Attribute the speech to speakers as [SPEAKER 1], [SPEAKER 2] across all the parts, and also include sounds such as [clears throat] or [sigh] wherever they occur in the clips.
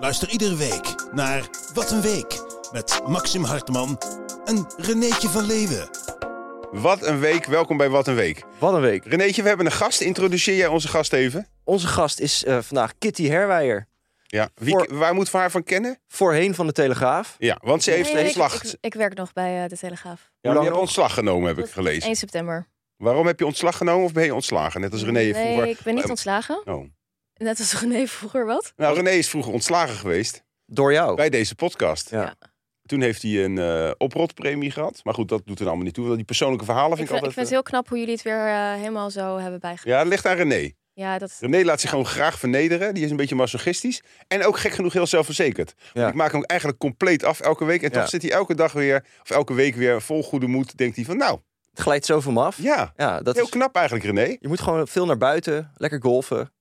[SPEAKER 1] Luister iedere week naar Wat een Week met Maxim Hartman en Renéetje van Leeuwen.
[SPEAKER 2] Wat een week, welkom bij Wat een Week.
[SPEAKER 3] Wat een week.
[SPEAKER 2] Renéetje, we hebben een gast. Introduceer jij onze gast even?
[SPEAKER 3] Onze gast is eh, vandaag Kitty Herwijer.
[SPEAKER 2] Ja. Wie,
[SPEAKER 3] Voor-
[SPEAKER 2] Waar moeten we haar van kennen?
[SPEAKER 3] Voorheen van de Telegraaf.
[SPEAKER 2] Ja, want ze heeft
[SPEAKER 4] Nee, ik-
[SPEAKER 2] ontslag.
[SPEAKER 4] Ik, ik werk nog bij eh, de Telegraaf.
[SPEAKER 2] Hoe lang
[SPEAKER 3] lang
[SPEAKER 2] heb je
[SPEAKER 3] nog?
[SPEAKER 2] ontslag genomen, heb ik gelezen.
[SPEAKER 4] 1 september.
[SPEAKER 2] Waarom heb je ontslag genomen of ben je ontslagen? Net als René
[SPEAKER 4] nee,
[SPEAKER 2] vroeger.
[SPEAKER 4] ik ben niet
[SPEAKER 2] Eh,
[SPEAKER 4] ontslagen.
[SPEAKER 2] oh.
[SPEAKER 4] Net als [laughs] René vroeger wat.
[SPEAKER 2] Nou, René is vroeger ontslagen geweest
[SPEAKER 3] Door jou.
[SPEAKER 2] bij deze podcast.
[SPEAKER 3] Ja.
[SPEAKER 2] Toen heeft hij een eh, oprotpremie gehad. Maar goed, dat doet er allemaal niet toe. want Die persoonlijke verhalen
[SPEAKER 4] Ik,
[SPEAKER 2] vind ik,
[SPEAKER 4] vind- ik
[SPEAKER 2] altijd...
[SPEAKER 4] vind het heel knap hoe jullie het weer eh, helemaal zo hebben bijgebracht.
[SPEAKER 2] eh, Ja, dat ligt aan René.
[SPEAKER 4] Ja, dat...
[SPEAKER 2] René laat zich
[SPEAKER 4] Ja.
[SPEAKER 2] gewoon graag vernederen. Die is een beetje masochistisch. En ook gek genoeg heel zelfverzekerd.
[SPEAKER 3] Ja.
[SPEAKER 2] Want Ik maak hem eigenlijk compleet af elke week. En
[SPEAKER 3] Ja.
[SPEAKER 2] toch zit hij elke dag weer, of elke week weer vol goede moed. Denkt hij van, nou,
[SPEAKER 3] Het glijdt zo van me af.
[SPEAKER 2] ja,
[SPEAKER 3] Ja, dat
[SPEAKER 2] heel
[SPEAKER 3] is-
[SPEAKER 2] knap eigenlijk René.
[SPEAKER 3] Je moet gewoon veel naar buiten. Lekker golfen.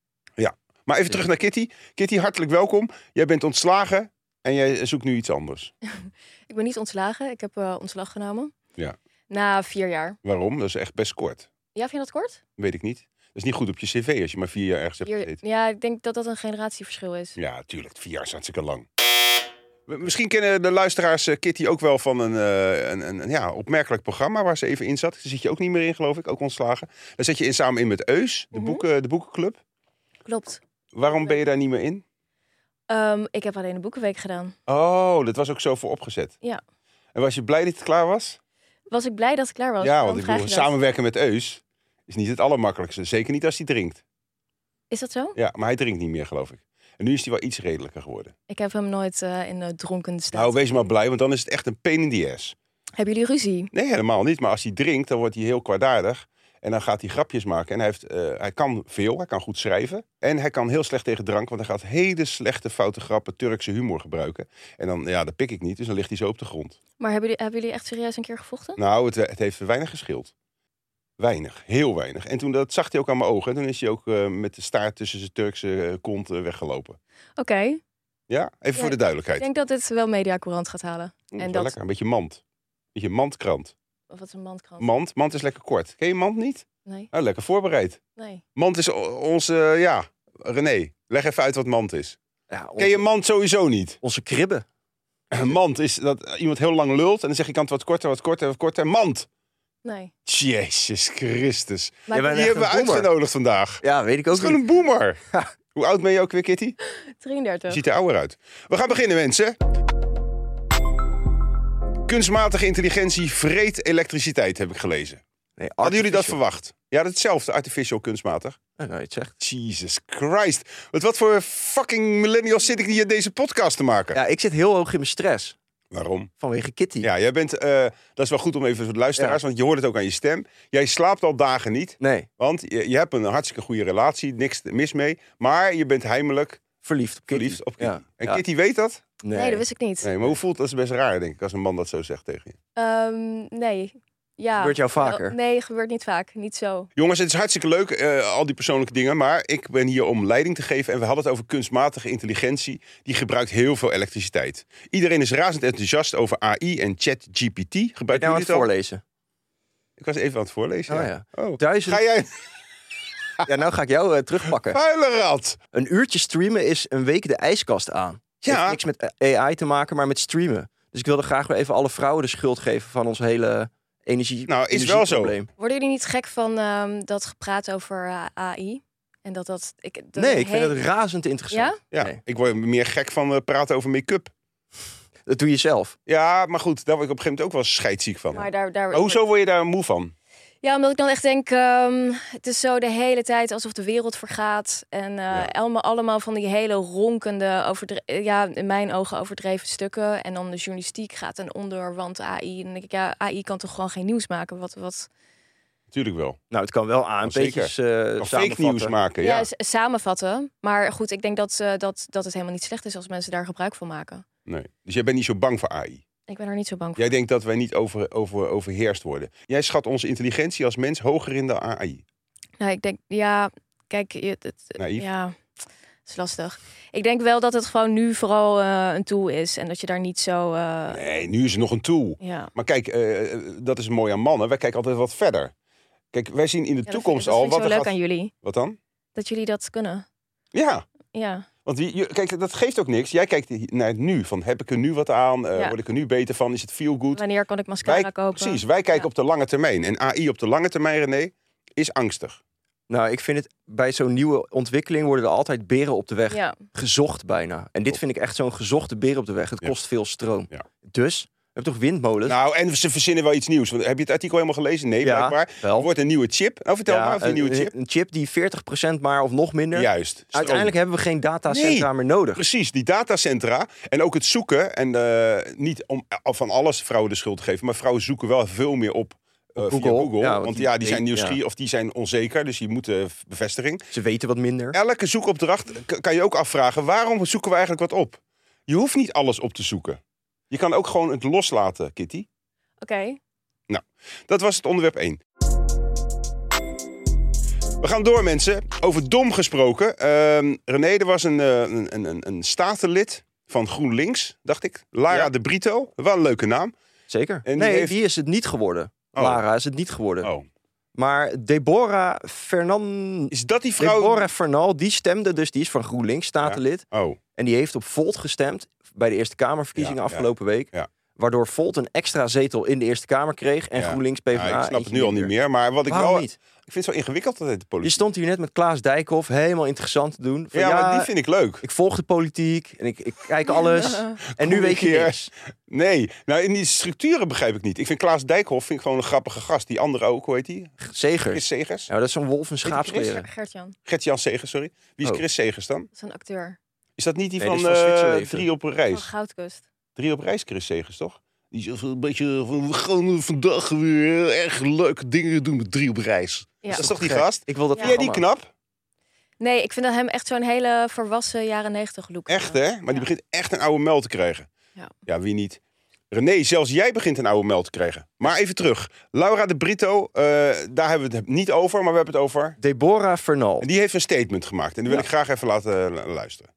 [SPEAKER 2] Maar even terug naar Kitty. Kitty, hartelijk welkom. Jij bent ontslagen en jij zoekt nu iets anders.
[SPEAKER 4] Ik ben niet ontslagen. Ik heb eh, ontslag genomen.
[SPEAKER 2] Ja.
[SPEAKER 4] Na vier jaar.
[SPEAKER 2] Waarom? Dat is echt best kort.
[SPEAKER 4] Ja, vind je dat kort?
[SPEAKER 2] Weet ik niet. Dat is niet goed op je cv als je maar vier jaar ergens hebt
[SPEAKER 4] Vier-
[SPEAKER 2] gezeten.
[SPEAKER 4] ja, ik denk dat dat een generatieverschil is.
[SPEAKER 2] Ja, tuurlijk. Vier jaar is hartstikke lang. M- Misschien kennen de luisteraars eh, Kitty ook wel van een, eh, een, een, een, ja, opmerkelijk programma waar ze even in zat. Daar zit je ook niet meer in, geloof ik. Ook ontslagen. Daar zit je in, samen in met Eus, de,
[SPEAKER 4] Mhm.
[SPEAKER 2] boeken, de boekenclub.
[SPEAKER 4] Klopt.
[SPEAKER 2] Waarom ben je daar niet meer in?
[SPEAKER 4] Ehm, ik heb alleen de boekenweek gedaan.
[SPEAKER 2] Oh, dat was ook zo voor opgezet.
[SPEAKER 4] Ja.
[SPEAKER 2] En was je blij dat het klaar was?
[SPEAKER 4] Was ik blij dat ik klaar was?
[SPEAKER 2] ja,
[SPEAKER 4] Waarom
[SPEAKER 2] want ik
[SPEAKER 4] vraag
[SPEAKER 2] bedoel,
[SPEAKER 4] je dat?
[SPEAKER 2] samenwerken met Eus is niet het allermakkelijkste. Zeker niet als hij drinkt.
[SPEAKER 4] Is dat zo?
[SPEAKER 2] Ja, maar hij drinkt niet meer, geloof ik. En nu is hij wel iets redelijker geworden.
[SPEAKER 4] Ik heb hem nooit eh, in eh dronken staat.
[SPEAKER 2] Nou, wees maar blij, want dan is het echt een pain in the ass.
[SPEAKER 4] Hebben jullie ruzie?
[SPEAKER 2] Nee, helemaal niet. Maar als hij drinkt, dan wordt hij heel kwaadaardig. En dan gaat hij grapjes maken. En hij, heeft, eh, hij kan veel, hij kan goed schrijven. En hij kan heel slecht tegen drank, want hij gaat hele slechte, foute grappen, Turkse humor gebruiken. En dan, ja, dat pik ik niet, dus dan ligt hij zo op de grond.
[SPEAKER 4] Maar hebben jullie, hebben jullie echt serieus een keer gevochten?
[SPEAKER 2] Nou, het, het heeft weinig geschild. Weinig, heel weinig. En toen dat zag hij ook aan mijn ogen. En toen is hij ook eh, met de staart tussen zijn Turkse eh, kont eh, weggelopen.
[SPEAKER 4] Oké.
[SPEAKER 2] Ja, even
[SPEAKER 4] Ja,
[SPEAKER 2] voor de duidelijkheid.
[SPEAKER 4] Ik denk dat dit wel mediacourant gaat halen.
[SPEAKER 2] Mm, is wel
[SPEAKER 4] en dat-
[SPEAKER 2] lekker, een beetje mand. Beetje mandkrant.
[SPEAKER 4] Of wat is een mandkrant?
[SPEAKER 2] Mand, mand is lekker kort. Ken je mand niet?
[SPEAKER 4] Nee,
[SPEAKER 2] Nou, lekker voorbereid.
[SPEAKER 4] nee.
[SPEAKER 2] Mand is o- onze, eh, ja, René, leg even uit wat mand is.
[SPEAKER 3] Ja, onze,
[SPEAKER 2] Ken je mand sowieso niet? [clears throat]
[SPEAKER 3] onze kribben.
[SPEAKER 2] Mand is dat iemand heel lang lult en dan zeg ik aan het wat korter, wat korter, wat korter. Mand!
[SPEAKER 4] nee.
[SPEAKER 2] Jezus Christus.
[SPEAKER 4] Maar
[SPEAKER 3] Ja,
[SPEAKER 2] Die
[SPEAKER 3] bent echt
[SPEAKER 2] hebben we
[SPEAKER 3] een boomer.
[SPEAKER 2] uitgenodigd vandaag.
[SPEAKER 3] Ja, weet ik
[SPEAKER 2] Dat
[SPEAKER 3] ook
[SPEAKER 2] is gewoon
[SPEAKER 3] niet. [laughs]
[SPEAKER 2] een boomer. Hoe oud ben je ook weer, Kitty?
[SPEAKER 4] 33.
[SPEAKER 2] Ziet er ouder uit. We gaan beginnen, mensen. Kunstmatige intelligentie vreet elektriciteit, heb ik gelezen.
[SPEAKER 3] Nee,
[SPEAKER 2] Hadden jullie dat
[SPEAKER 3] artificial.
[SPEAKER 2] verwacht? Ja, hetzelfde, artificial kunstmatig.
[SPEAKER 3] Ja, nou, je het zegt.
[SPEAKER 2] Jesus Christ. Wat, wat voor fucking millennials zit ik hier deze podcast te maken?
[SPEAKER 3] Ja, ik zit heel hoog in mijn stress.
[SPEAKER 2] Waarom?
[SPEAKER 3] Vanwege Kitty.
[SPEAKER 2] Ja, jij bent. eh, dat is wel goed om even voor de luisteraars, want je hoort het ook aan je stem. Jij slaapt al dagen niet,
[SPEAKER 3] Nee,
[SPEAKER 2] want je, je hebt een hartstikke goede relatie, niks mis mee. Maar je bent heimelijk
[SPEAKER 3] verliefd op Kitty.
[SPEAKER 2] verliefd op Kitty.
[SPEAKER 3] Ja,
[SPEAKER 2] En
[SPEAKER 3] ja.
[SPEAKER 2] Kitty weet dat?
[SPEAKER 3] Nee.
[SPEAKER 4] nee. dat wist ik niet.
[SPEAKER 2] Nee, maar hoe voelt dat? is best raar, denk ik, als een man dat zo zegt tegen je.
[SPEAKER 4] Ehm, nee. Ja.
[SPEAKER 3] Gebeurt jou vaker?
[SPEAKER 4] Oh, Nee, gebeurt niet vaak. Niet zo.
[SPEAKER 2] Jongens, het is hartstikke leuk, eh, al die persoonlijke dingen. Maar ik ben hier om leiding te geven. En we hadden het over kunstmatige intelligentie. Die gebruikt heel veel elektriciteit. Iedereen is razend enthousiast over AI en ChatGPT. Gebruik
[SPEAKER 3] nou aan
[SPEAKER 2] jullie
[SPEAKER 3] het
[SPEAKER 2] het al?
[SPEAKER 3] voorlezen.
[SPEAKER 2] Ik was even aan het voorlezen.
[SPEAKER 3] Oh,
[SPEAKER 2] ja. Oh.
[SPEAKER 3] Duizend...
[SPEAKER 2] Ga jij een
[SPEAKER 3] Ja, nou ga ik jou eh, terugpakken.
[SPEAKER 2] vuile rat?
[SPEAKER 3] Een uurtje streamen is een week de ijskast aan.
[SPEAKER 2] Ja.
[SPEAKER 3] Heeft niks met eh, AI te maken, maar met streamen. Dus ik wilde graag weer even alle vrouwen de schuld geven van ons hele energie
[SPEAKER 2] Nou, is wel zo.
[SPEAKER 3] energieprobleem.
[SPEAKER 4] Worden jullie niet gek van ehm, dat gepraat over eh, AI? En dat dat... Ik, de
[SPEAKER 3] Nee, ik vind
[SPEAKER 4] hele-
[SPEAKER 3] het razend interessant.
[SPEAKER 4] Ja?
[SPEAKER 2] Ja,
[SPEAKER 3] Nee.
[SPEAKER 2] ik word meer gek van eh, praten over make-up.
[SPEAKER 3] Dat doe je zelf.
[SPEAKER 2] Ja, maar goed, daar word ik op een gegeven moment ook wel scheidziek van.
[SPEAKER 4] Maar daar, daar...
[SPEAKER 2] Maar hoezo word je daar moe van?
[SPEAKER 4] Ja, omdat ik dan echt denk, ehm, het is zo de hele tijd alsof de wereld vergaat. En eh allemaal, allemaal van die hele ronkende, overdre- eh, ja, in mijn ogen overdreven stukken. En dan de journalistiek gaat dan onder, want AI. En dan denk ik, ja, AI kan toch gewoon geen nieuws maken? Wat, wat...
[SPEAKER 2] Natuurlijk wel.
[SPEAKER 3] Nou, het kan wel aan een
[SPEAKER 2] Oh, zeker.
[SPEAKER 3] beetje
[SPEAKER 2] Kan fake
[SPEAKER 3] eh, samenvatten.
[SPEAKER 2] nieuws maken, ja.
[SPEAKER 4] s- samenvatten. Maar goed, ik denk dat, eh, dat, dat het helemaal niet slecht is als mensen daar gebruik van maken.
[SPEAKER 2] Nee. Dus jij bent niet zo bang voor AI.
[SPEAKER 4] Ik ben er niet zo bang voor.
[SPEAKER 2] Jij denkt dat wij niet over, over, overheerst worden. Jij schat onze intelligentie als mens hoger in dan AI.
[SPEAKER 4] Nou, ik denk, ja, kijk, je- het, het-
[SPEAKER 2] Naïef.
[SPEAKER 4] ja, het is lastig. Ik denk wel dat het gewoon nu vooral eh, een tool is en dat je daar niet zo, eh,
[SPEAKER 2] Nee, nu is het nog een tool.
[SPEAKER 4] ja.
[SPEAKER 2] Maar kijk, eh, eh, dat is mooi aan mannen. Wij kijken altijd wat verder. Kijk, wij zien in de
[SPEAKER 4] Ja, dat
[SPEAKER 2] toekomst
[SPEAKER 4] vind ik-
[SPEAKER 2] al
[SPEAKER 4] dat
[SPEAKER 2] wat
[SPEAKER 4] vind ik
[SPEAKER 2] er
[SPEAKER 4] zo leuk
[SPEAKER 2] gaat...
[SPEAKER 4] aan jullie.
[SPEAKER 2] Wat dan?
[SPEAKER 4] Dat jullie dat kunnen.
[SPEAKER 2] Ja,
[SPEAKER 4] Ja,
[SPEAKER 2] want je, je- kijk, dat geeft ook niks. Jij kijkt hi- naar het nu. Van, heb ik er nu wat aan? Eh,
[SPEAKER 4] Ja.
[SPEAKER 2] Word ik er nu beter van? Is het feel good?
[SPEAKER 4] wanneer kan ik mascara
[SPEAKER 2] Wij,
[SPEAKER 4] kopen?
[SPEAKER 2] precies, wij kijken
[SPEAKER 4] Ja.
[SPEAKER 2] op de lange termijn. En AI op de lange termijn, René, is angstig.
[SPEAKER 3] Nou, ik vind het bij zo'n nieuwe ontwikkeling worden er altijd beren op de weg
[SPEAKER 4] Ja,
[SPEAKER 3] gezocht bijna. En dit vind ik echt zo'n gezochte beren op de weg. Het
[SPEAKER 2] Ja.
[SPEAKER 3] kost veel stroom.
[SPEAKER 2] Ja.
[SPEAKER 3] Dus, we hebben toch windmolens?
[SPEAKER 2] Nou, en ze verzinnen wel iets nieuws. Want, heb je het artikel helemaal gelezen? Nee,
[SPEAKER 3] Dus- Ja,
[SPEAKER 2] blijkbaar.
[SPEAKER 3] wel.
[SPEAKER 2] Er wordt een nieuwe chip. Nou, vertel
[SPEAKER 3] Ja,
[SPEAKER 2] maar over die
[SPEAKER 3] een,
[SPEAKER 2] nieuwe chip.
[SPEAKER 3] een chip die 40% maar of nog minder.
[SPEAKER 2] Juist. stroom.
[SPEAKER 3] Uiteindelijk hebben we geen datacentra
[SPEAKER 2] Nee.
[SPEAKER 3] meer nodig.
[SPEAKER 2] Precies, die datacentra en ook het zoeken. En eh, niet om eh, van alles vrouwen de schuld te geven, maar vrouwen zoeken wel veel meer op. eh, via
[SPEAKER 3] Google.
[SPEAKER 2] Google.
[SPEAKER 3] Ja,
[SPEAKER 2] want,
[SPEAKER 3] want die-
[SPEAKER 2] ja, die zijn
[SPEAKER 3] ja.
[SPEAKER 2] nieuwsgierig of die zijn onzeker, dus die moeten v- bevestiging.
[SPEAKER 3] Ze weten wat minder.
[SPEAKER 2] Elke zoekopdracht k- kan je ook afvragen: waarom zoeken we eigenlijk wat op? Je hoeft niet alles op te zoeken. Je kan ook gewoon het loslaten, Kitty.
[SPEAKER 4] oké.
[SPEAKER 2] Nou, Dat was het onderwerp 1. We gaan door, mensen. Over dom gesproken. Ehm René, er was een, eh, een, een- een, een statenlid van GroenLinks, dacht ik. Lara
[SPEAKER 3] Ja.
[SPEAKER 2] de Brito. Wel een leuke naam.
[SPEAKER 3] Zeker.
[SPEAKER 2] die
[SPEAKER 3] nee,
[SPEAKER 2] heeft-
[SPEAKER 3] die is het niet geworden.
[SPEAKER 2] Oh.
[SPEAKER 3] Lara is het niet geworden.
[SPEAKER 2] Oh.
[SPEAKER 3] Maar Deborah Fernan...
[SPEAKER 2] Is dat die vrouw?
[SPEAKER 3] Deborah Fernal, die stemde dus, die is van GroenLinks, statenlid.
[SPEAKER 2] Oh,
[SPEAKER 3] En die heeft op Volt gestemd bij de Eerste Kamerverkiezingen
[SPEAKER 2] Ja, ja,
[SPEAKER 3] afgelopen week.
[SPEAKER 2] ja.
[SPEAKER 3] Waardoor Volt een extra zetel in de Eerste Kamer kreeg. En
[SPEAKER 2] Ja.
[SPEAKER 3] GroenLinks
[SPEAKER 2] ja,
[SPEAKER 3] PvdA.
[SPEAKER 2] ik snap het
[SPEAKER 3] eentje
[SPEAKER 2] nu al niet meer. Maar wat ik
[SPEAKER 3] Waarom
[SPEAKER 2] wel.
[SPEAKER 3] niet?
[SPEAKER 2] Ik vind het zo ingewikkeld dat het de
[SPEAKER 3] Je
[SPEAKER 2] politiek.
[SPEAKER 3] stond hier net met Klaas Dijkhoff, helemaal interessant te doen. Van,
[SPEAKER 2] ja,
[SPEAKER 3] ja,
[SPEAKER 2] maar die vind ik leuk.
[SPEAKER 3] ik volg de politiek en ik, ik
[SPEAKER 2] [laughs]
[SPEAKER 3] kijk alles. en nu
[SPEAKER 2] Goeie
[SPEAKER 3] weet je
[SPEAKER 2] keer.
[SPEAKER 3] niks.
[SPEAKER 2] Nee, nou in die structuren begrijp ik niet. Ik vind Klaas Dijkhoff vind ik gewoon een grappige gast. Die andere ook, hoe heet die?
[SPEAKER 3] Zeker.
[SPEAKER 2] Chris Segers.
[SPEAKER 3] Nou, dat is zo'n wolf en
[SPEAKER 4] Ger-
[SPEAKER 3] schaapskleren.
[SPEAKER 4] Gert-Jan, dat
[SPEAKER 2] Gert-Jan Segers, sorry. Wie is
[SPEAKER 3] Oh.
[SPEAKER 2] Chris Segers dan?
[SPEAKER 4] is een acteur
[SPEAKER 2] Is dat niet die
[SPEAKER 3] Nee,
[SPEAKER 2] van,
[SPEAKER 3] die is van
[SPEAKER 2] eh,
[SPEAKER 3] Zwitserleven.
[SPEAKER 2] Drie op een
[SPEAKER 4] van
[SPEAKER 2] reis?
[SPEAKER 4] Goudkust.
[SPEAKER 2] Drie op reis, Chris Segers, toch? Die zegt een beetje van, we gaan vandaag weer erg leuke dingen doen met drie op reis.
[SPEAKER 4] Ja.
[SPEAKER 2] Dat is toch die
[SPEAKER 3] Gek.
[SPEAKER 2] gast?
[SPEAKER 3] Ik wil dat
[SPEAKER 4] Ja.
[SPEAKER 2] Vind jij die
[SPEAKER 3] programma.
[SPEAKER 2] knap?
[SPEAKER 4] Nee, ik vind dat hem echt zo'n hele volwassen jaren negentig look.
[SPEAKER 2] Echt, hè? Maar die
[SPEAKER 4] Ja.
[SPEAKER 2] begint echt een oude mel te krijgen.
[SPEAKER 4] Ja.
[SPEAKER 2] wie niet? René, zelfs jij begint een oude mel te krijgen. Maar even terug. Laura de Brito, eh, daar hebben we het niet over, maar we hebben het over.
[SPEAKER 3] Deborah Fernal.
[SPEAKER 2] En die heeft een statement gemaakt. En die wil
[SPEAKER 3] Ja.
[SPEAKER 2] ik graag even laten eh, luisteren.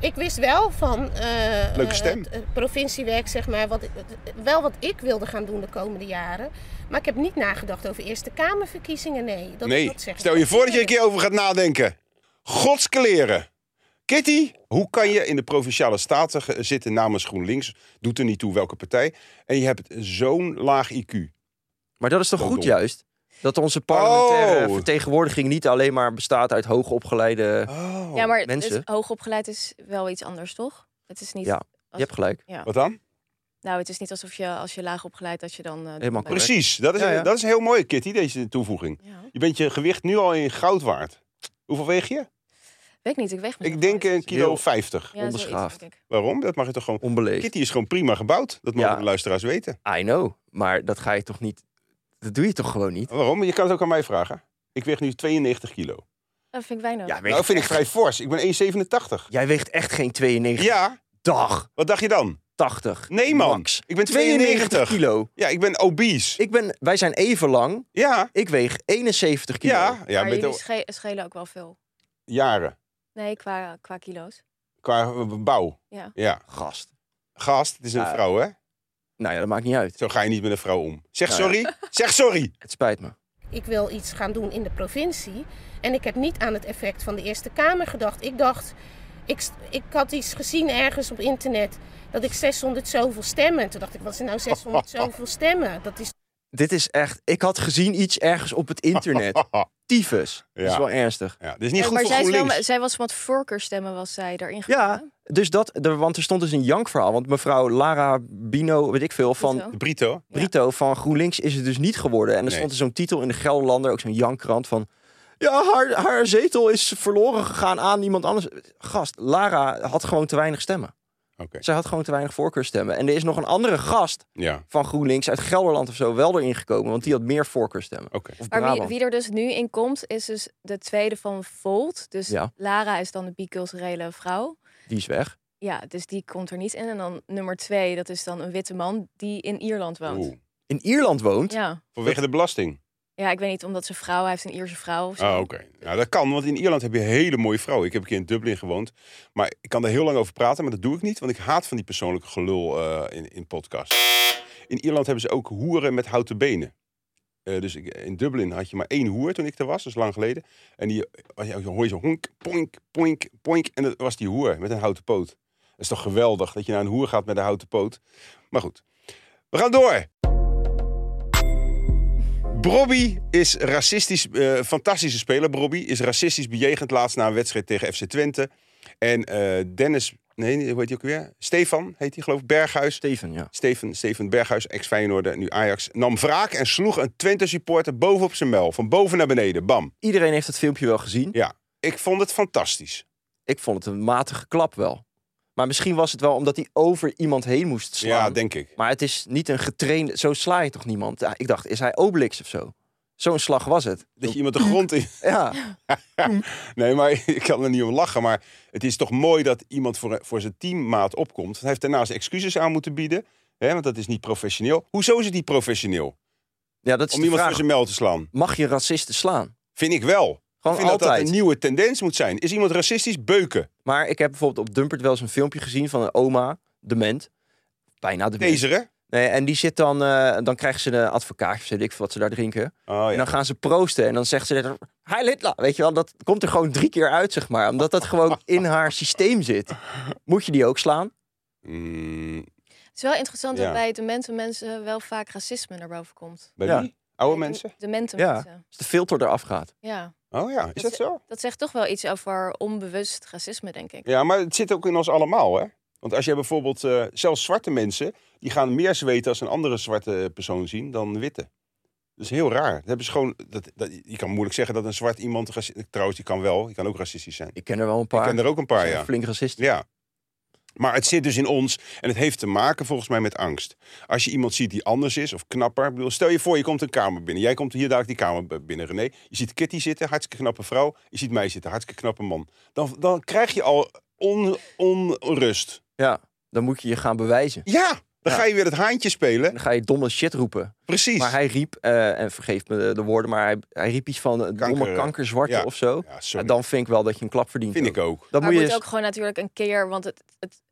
[SPEAKER 5] Ik wist wel van eh,
[SPEAKER 2] Leuke
[SPEAKER 5] eh,
[SPEAKER 2] stem.
[SPEAKER 5] het, eh, provinciewerk, zeg maar, wat, ik- wel wat ik wilde gaan doen de komende jaren. Maar ik heb niet nagedacht over Eerste Kamerverkiezingen, nee. Dat,
[SPEAKER 2] nee,
[SPEAKER 5] dat zeg ik
[SPEAKER 2] stel je
[SPEAKER 5] ook
[SPEAKER 2] voor dat je een
[SPEAKER 5] eerlijk.
[SPEAKER 2] keer over gaat nadenken. Godskleren. Kitty, hoe kan je in de Provinciale Staten ge- zitten namens GroenLinks? Doet er niet toe welke partij. En je hebt zo'n laag IQ.
[SPEAKER 3] Maar dat is toch
[SPEAKER 2] Oh,
[SPEAKER 3] goed
[SPEAKER 2] dom.
[SPEAKER 3] juist? Dat onze parlementaire
[SPEAKER 2] Oh.
[SPEAKER 3] vertegenwoordiging niet alleen maar bestaat uit hoogopgeleide...
[SPEAKER 2] Oh.
[SPEAKER 4] ja, maar
[SPEAKER 3] mensen.
[SPEAKER 4] Dus hoogopgeleid is wel iets anders, toch? Het is niet,
[SPEAKER 3] Ja. Je hebt gelijk.
[SPEAKER 2] Wat dan?
[SPEAKER 4] nou, het is niet alsof je als je laag opgeleid dat je dan... eh,
[SPEAKER 3] Helemaal
[SPEAKER 4] dom bent.
[SPEAKER 2] Precies, dat is,
[SPEAKER 3] Ja, ja.
[SPEAKER 2] dat is heel mooi, Kitty, deze toevoeging.
[SPEAKER 4] Ja.
[SPEAKER 2] Je bent je gewicht nu al in goud waard. Hoeveel weeg je?
[SPEAKER 4] Weet ik niet, ik weeg me
[SPEAKER 2] Ik
[SPEAKER 4] nog
[SPEAKER 2] denk
[SPEAKER 4] nooit.
[SPEAKER 2] een kilo
[SPEAKER 3] Heel-
[SPEAKER 2] 50.
[SPEAKER 4] Ja, zoiets,
[SPEAKER 3] onbeschaafd.
[SPEAKER 4] denk ik.
[SPEAKER 2] Waarom? Dat mag je toch gewoon...
[SPEAKER 3] Onbeleefd.
[SPEAKER 2] Kitty is gewoon prima gebouwd. Dat mogen
[SPEAKER 3] Ja.
[SPEAKER 2] de luisteraars weten.
[SPEAKER 3] I know. Maar dat ga je toch niet... Dat doe je toch gewoon niet?
[SPEAKER 2] Waarom? Je kan het ook aan mij vragen. Ik weeg nu 92 kilo.
[SPEAKER 4] Dat vind ik weinig.
[SPEAKER 3] Ja, weet
[SPEAKER 2] Nou,
[SPEAKER 3] ik
[SPEAKER 2] vind ik
[SPEAKER 3] echt.
[SPEAKER 2] vrij fors. Ik ben 1,87.
[SPEAKER 3] Jij weegt echt geen 92.
[SPEAKER 2] Ja,
[SPEAKER 3] Dag.
[SPEAKER 2] wat dacht je dan?
[SPEAKER 3] 80.
[SPEAKER 2] Nee, man.
[SPEAKER 3] Max.
[SPEAKER 2] Ik ben 92.
[SPEAKER 3] kilo.
[SPEAKER 2] Ja, ik ben obese.
[SPEAKER 3] Ik ben, wij zijn even lang.
[SPEAKER 2] Ja,
[SPEAKER 3] Ik weeg 71 kilo.
[SPEAKER 2] ja, ja,
[SPEAKER 4] maar
[SPEAKER 2] met
[SPEAKER 4] jullie
[SPEAKER 2] de
[SPEAKER 4] sche- schelen ook wel veel.
[SPEAKER 2] jaren.
[SPEAKER 4] Nee, qua, qua kilo's.
[SPEAKER 2] Qua eh, bouw.
[SPEAKER 4] Ja.
[SPEAKER 2] ja.
[SPEAKER 3] Gast.
[SPEAKER 2] Gast, het is een
[SPEAKER 3] Ja.
[SPEAKER 2] vrouw, hè?
[SPEAKER 3] Nou ja, dat maakt niet uit.
[SPEAKER 2] Zo ga je niet met een vrouw om. Zeg
[SPEAKER 3] Nou ja.
[SPEAKER 2] sorry. Zeg sorry. [laughs]
[SPEAKER 3] Het spijt me.
[SPEAKER 5] Ik wil iets gaan doen in de provincie. En ik heb niet aan het effect van de Eerste Kamer gedacht. Ik dacht, ik, st- ik had iets gezien ergens op internet dat ik 600 zoveel stemmen. En toen dacht ik, wat zijn
[SPEAKER 2] [laughs]
[SPEAKER 5] nou 600 zoveel stemmen? Dat is
[SPEAKER 3] Dit is echt... Ik had gezien iets ergens op het
[SPEAKER 2] [laughs]
[SPEAKER 3] internet. Tyfus. Dat is
[SPEAKER 2] Ja.
[SPEAKER 3] wel ernstig.
[SPEAKER 2] Ja, dit is niet
[SPEAKER 4] Ja,
[SPEAKER 2] goed
[SPEAKER 4] Eh, maar
[SPEAKER 2] voor
[SPEAKER 4] zij, is wel,
[SPEAKER 2] GroenLinks.
[SPEAKER 4] met- zij was wat voorkeurstemmen, was zij daarin
[SPEAKER 3] Ja,
[SPEAKER 4] gekomen.
[SPEAKER 3] dus dat... de- Want er stond dus een jankverhaal. Want mevrouw Lara Bino, weet ik veel, van
[SPEAKER 4] Zo.
[SPEAKER 2] De Brito.
[SPEAKER 3] Brito van GroenLinks is het dus niet geworden. En er
[SPEAKER 2] Nee.
[SPEAKER 3] stond er zo'n titel in de Gelderlander, ook zo'n jankkrant van... Ja, haar, haar zetel is verloren gegaan aan iemand anders. Gast, Lara had gewoon te weinig stemmen.
[SPEAKER 2] Oké.
[SPEAKER 3] Zij had gewoon te weinig voorkeurstemmen. En er is nog een andere gast
[SPEAKER 2] Ja,
[SPEAKER 3] van GroenLinks uit Gelderland of zo wel erin gekomen. Want die had meer voorkeurstemmen.
[SPEAKER 2] oké.
[SPEAKER 3] Of
[SPEAKER 4] Maar wie,
[SPEAKER 3] Brabant.
[SPEAKER 4] wie er dus nu in komt, is dus de tweede van Volt. Dus
[SPEAKER 3] Ja.
[SPEAKER 4] Lara is dan de biculturele vrouw.
[SPEAKER 3] Die is weg.
[SPEAKER 4] Ja, dus die komt er niet in. En dan nummer twee, dat is dan een witte man die in Ierland woont.
[SPEAKER 2] Oeh.
[SPEAKER 3] In Ierland woont?
[SPEAKER 4] Ja.
[SPEAKER 2] Vanwege de belasting.
[SPEAKER 4] ja, ik weet niet, omdat zijn vrouw, hij heeft een Ierse vrouw of zo.
[SPEAKER 2] Ah, oké. Nou, dat kan, want in Ierland heb je hele mooie vrouwen. Ik heb een keer in Dublin gewoond. Maar ik kan er heel lang over praten, maar dat doe ik niet. Want ik haat van die persoonlijke gelul eh, in, in podcasts. In Ierland hebben ze ook hoeren met houten benen. Eh, dus ik- in Dublin had je maar één hoer toen ik er was, dat is lang geleden. En die als je- hoor je zo honk, poink, poink, poink. En dat was die hoer met een houten poot. Dat is toch geweldig dat je naar een hoer gaat met een houten poot. Maar goed, we gaan door. Brobby is racistisch, eh, fantastische speler. Brobby is racistisch bejegend laatst na een wedstrijd tegen FC Twente. En eh, Dennis, nee, hoe heet hij ook weer? Stefan heet hij, geloof ik. Berghuis.
[SPEAKER 3] Steven, ja.
[SPEAKER 2] Steven, Steven Berghuis, ex-Feyenoorder, nu Ajax, nam wraak en sloeg een Twente-supporter bovenop zijn mel. Van boven naar beneden, bam.
[SPEAKER 3] Iedereen heeft het filmpje wel gezien.
[SPEAKER 2] Ja, ik vond het fantastisch.
[SPEAKER 3] Ik vond het een matige klap wel. Maar misschien was het wel omdat hij over iemand heen moest slaan.
[SPEAKER 2] Ja, denk ik.
[SPEAKER 3] Maar het is niet een getrainde... Zo sla je toch niemand? Ja, ik dacht, is hij Obelix of zo? Zo'n slag was het. Dus,
[SPEAKER 2] Dat je iemand de grond in...
[SPEAKER 3] Ja,
[SPEAKER 2] Nee, maar [laughs] ik kan er niet om lachen. Maar het is toch mooi dat iemand voor, voor zijn teammaat opkomt. Hij heeft daarnaast excuses aan moeten bieden. Hè, want dat is niet professioneel. Hoezo is het niet professioneel?
[SPEAKER 3] ja dat is
[SPEAKER 2] Om
[SPEAKER 3] de
[SPEAKER 2] iemand
[SPEAKER 3] vraag.
[SPEAKER 2] voor zijn mel te slaan?
[SPEAKER 3] Mag je racisten slaan?
[SPEAKER 2] Vind ik wel. Ik
[SPEAKER 3] Gewoon
[SPEAKER 2] vind dat dat
[SPEAKER 3] altijd.
[SPEAKER 2] een nieuwe tendens moet zijn. Is iemand racistisch? Beuken.
[SPEAKER 3] Maar ik heb bijvoorbeeld op Dumpert wel eens een filmpje gezien van een oma, dement. Bijna dement.
[SPEAKER 2] Taseren?
[SPEAKER 3] Nee, en die zit dan, eh, dan krijgen ze een advocaatje of weet ik veel wat ze daar drinken.
[SPEAKER 2] Oh
[SPEAKER 3] En
[SPEAKER 2] ja.
[SPEAKER 3] dan gaan ze proosten en dan zegt ze dat Heil Hitler, weet je wel, dat komt er gewoon drie keer uit, zeg maar. Omdat dat gewoon in haar systeem zit. Moet je die ook slaan?
[SPEAKER 2] Mm,
[SPEAKER 4] Het is wel interessant
[SPEAKER 2] Ja.
[SPEAKER 4] dat bij demente mensen wel vaak racisme naar boven komt.
[SPEAKER 2] bij
[SPEAKER 3] Ja.
[SPEAKER 2] wie? Oude mensen?
[SPEAKER 4] Demente
[SPEAKER 3] Ja.
[SPEAKER 4] mensen,
[SPEAKER 3] Als de filter eraf gaat.
[SPEAKER 4] ja.
[SPEAKER 2] Oh ja, is dat zo?
[SPEAKER 4] Dat zegt toch wel iets over onbewust racisme, denk ik.
[SPEAKER 2] Ja, maar het zit ook in ons allemaal, hè? Want als je bijvoorbeeld, eh, zelfs zwarte mensen, die gaan meer zweten als een andere zwarte persoon zien dan witte. Dat is heel raar. Dat hebben ze gewoon, dat, dat, je kan moeilijk zeggen dat een zwart iemand, raci- trouwens, die kan wel, die kan ook racistisch zijn.
[SPEAKER 3] Ik ken er wel een
[SPEAKER 2] Ik
[SPEAKER 3] paar.
[SPEAKER 2] ken er ook een paar, ja.
[SPEAKER 3] Flink racisten.
[SPEAKER 2] Ja. Maar het zit dus in ons en het heeft te maken volgens mij met angst. Als je iemand ziet die anders is of knapper. Ik bedoel, stel je voor, je komt een kamer binnen. Jij komt hier dadelijk die kamer b- binnen, René. Je ziet Kitty zitten, hartstikke knappe vrouw. Je ziet mij zitten, hartstikke knappe man. Dan, dan krijg je al on, onrust.
[SPEAKER 3] Ja, dan moet je je gaan bewijzen.
[SPEAKER 2] Ja, dan
[SPEAKER 3] Ja.
[SPEAKER 2] ga je weer het haantje
[SPEAKER 3] En
[SPEAKER 2] spelen.
[SPEAKER 3] dan ga je domme shit roepen.
[SPEAKER 2] Precies.
[SPEAKER 3] Maar hij riep, eh, en vergeef me de- de woorden, maar hij, hij riep iets van eh, domme
[SPEAKER 2] Kanker, eh,
[SPEAKER 3] kankerzwarte
[SPEAKER 2] ja.
[SPEAKER 3] of zo.
[SPEAKER 2] Ja,
[SPEAKER 3] Ja,
[SPEAKER 2] sorry.
[SPEAKER 3] dan vind ik wel dat je een klap verdient.
[SPEAKER 2] vind ik ook.
[SPEAKER 3] Dan
[SPEAKER 4] maar
[SPEAKER 3] moet je
[SPEAKER 4] moet
[SPEAKER 3] eens-
[SPEAKER 4] ook gewoon natuurlijk een keer, want het, het,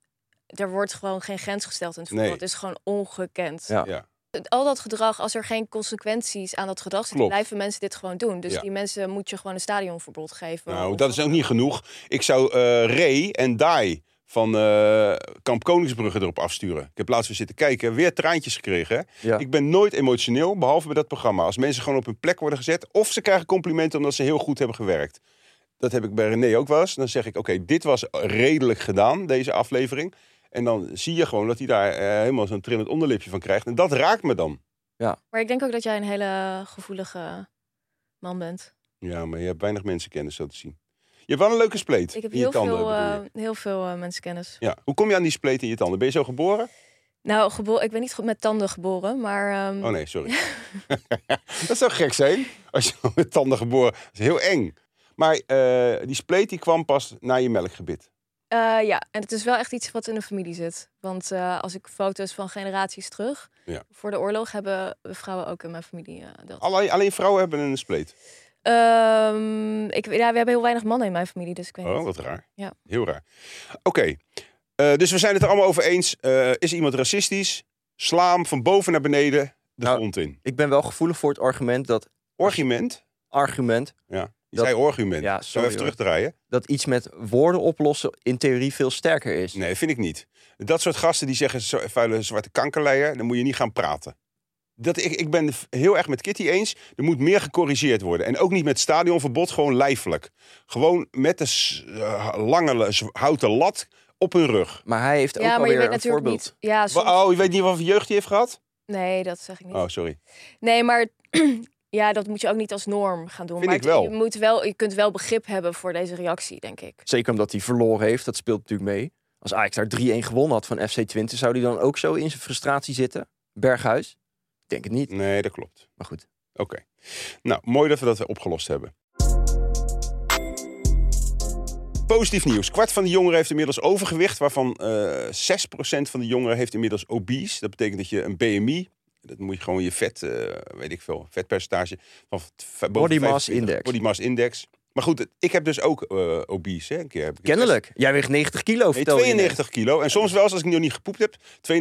[SPEAKER 4] er wordt gewoon geen grens gesteld in het voetbal.
[SPEAKER 2] Nee.
[SPEAKER 4] Het is gewoon ongekend.
[SPEAKER 3] Ja.
[SPEAKER 2] Ja.
[SPEAKER 4] Het- Al dat gedrag, als er geen consequenties aan dat gedrag zitten,
[SPEAKER 2] Klopt.
[SPEAKER 4] blijven mensen dit gewoon doen. Dus
[SPEAKER 2] Ja.
[SPEAKER 4] die mensen moet je gewoon een stadionverbod geven.
[SPEAKER 2] Nou,
[SPEAKER 4] Of-
[SPEAKER 2] dat is ook niet genoeg. Ik zou eh Ray en Dai van eh, Kamp Koningsbrugge erop afsturen. Ik heb laatst weer zitten kijken, weer traantjes gekregen. hè.
[SPEAKER 3] Ja.
[SPEAKER 2] Ik ben nooit emotioneel, behalve bij dat programma. Als mensen gewoon op hun plek worden gezet... of ze krijgen complimenten omdat ze heel goed hebben gewerkt. Dat heb ik bij René ook wel eens. Dan zeg ik, oké, dit was redelijk gedaan, deze aflevering. En dan zie je gewoon dat hij daar eh, helemaal zo'n trillend onderlipje van krijgt. En dat raakt me dan.
[SPEAKER 4] Maar ik denk ook dat jij een hele gevoelige man bent.
[SPEAKER 2] Ja, maar je hebt weinig mensenkennis zo te zien. Je hebt wel een leuke spleet
[SPEAKER 4] Ik heb
[SPEAKER 2] in je
[SPEAKER 4] heel
[SPEAKER 2] tanden.
[SPEAKER 4] veel,
[SPEAKER 2] bedoel je.
[SPEAKER 4] eh, heel veel eh, mensenkennis.
[SPEAKER 2] Ja. Hoe kom je aan die spleet in je tanden? Ben je zo geboren?
[SPEAKER 4] Nou, gebo- ik ben niet ge- met tanden geboren, maar ehm,
[SPEAKER 2] Oh nee, sorry. [laughs] dat zou gek zijn als je [laughs] met tanden geboren. Dat is heel eng. Maar eh, die spleet die kwam pas na je melkgebit.
[SPEAKER 4] eh, ja, en het is wel echt iets wat in de familie zit. Want eh, als ik foto's van generaties terug,
[SPEAKER 2] Ja.
[SPEAKER 4] voor de oorlog hebben vrouwen ook in mijn familie eh, dat.
[SPEAKER 2] Alleen, alleen vrouwen hebben een spleet.
[SPEAKER 4] Ehm, ik, ja, we hebben heel weinig mannen in mijn familie, dus ik weet
[SPEAKER 2] Oh,
[SPEAKER 4] niet.
[SPEAKER 2] wat raar.
[SPEAKER 4] Ja.
[SPEAKER 2] Heel raar. Oké, eh, dus we zijn het er allemaal over eens. Eh, is iemand racistisch? Sla hem van boven naar beneden de
[SPEAKER 3] Nou,
[SPEAKER 2] grond in.
[SPEAKER 3] Ik ben wel gevoelig voor het argument dat
[SPEAKER 2] Orgument.
[SPEAKER 3] argument
[SPEAKER 2] Ja, je
[SPEAKER 3] Dat-
[SPEAKER 2] zei orgument.
[SPEAKER 3] Ja,
[SPEAKER 2] Zullen we
[SPEAKER 3] sorry,
[SPEAKER 2] even terugdraaien?
[SPEAKER 3] dat iets met woorden oplossen in theorie veel sterker is.
[SPEAKER 2] Nee, vind ik niet. Dat soort gasten die zeggen zo- vuile zwarte kankerleier, dan moet je niet gaan praten. Dat, ik, ik ben f- heel erg met Kitty eens. Er moet meer gecorrigeerd worden. En ook niet met stadionverbod, gewoon lijfelijk. Gewoon met de s- eh, lange le- z- houten lat op hun rug.
[SPEAKER 3] Maar hij heeft ook
[SPEAKER 4] ja, maar je
[SPEAKER 3] alweer
[SPEAKER 4] weet
[SPEAKER 3] een
[SPEAKER 4] natuurlijk
[SPEAKER 3] voorbeeld.
[SPEAKER 4] niet. Ja, soms-
[SPEAKER 2] Oh, je weet niet wat voor jeugd hij heeft gehad?
[SPEAKER 4] Nee, dat zeg ik niet.
[SPEAKER 2] Oh, sorry.
[SPEAKER 4] Nee, maar [clears throat] ja, dat moet je ook niet als norm gaan doen.
[SPEAKER 2] Vind
[SPEAKER 4] maar
[SPEAKER 2] ik
[SPEAKER 4] het-
[SPEAKER 2] wel.
[SPEAKER 4] Je, moet wel. je kunt wel begrip hebben voor deze reactie, denk ik.
[SPEAKER 3] Zeker omdat hij verloren heeft, dat speelt natuurlijk mee. Als Ajax daar 3-1 gewonnen had van FC Twente, zou hij dan ook zo in zijn frustratie zitten? Berghuis? Ik denk het niet,
[SPEAKER 2] Nee, dat klopt.
[SPEAKER 3] maar goed.
[SPEAKER 2] Oké. Nou, mooi dat we dat opgelost hebben. Positief nieuws. Kwart van de jongeren heeft inmiddels overgewicht, waarvan eh 6% van de jongeren heeft inmiddels obese. Dat betekent dat je een BMI, dat moet je gewoon je vet, eh, weet ik veel, vetpercentage van v- boven
[SPEAKER 3] Body mass
[SPEAKER 2] 25.
[SPEAKER 3] index.
[SPEAKER 2] Body mass index. Maar goed, het- ik heb dus ook eh, obese. Hè. Een keer heb ik
[SPEAKER 3] Kennelijk. Jij weegt 90 kilo,
[SPEAKER 2] Nee,
[SPEAKER 3] vertel je net.
[SPEAKER 2] 92 kilo. En soms wel eens, als ik nog niet gepoept heb,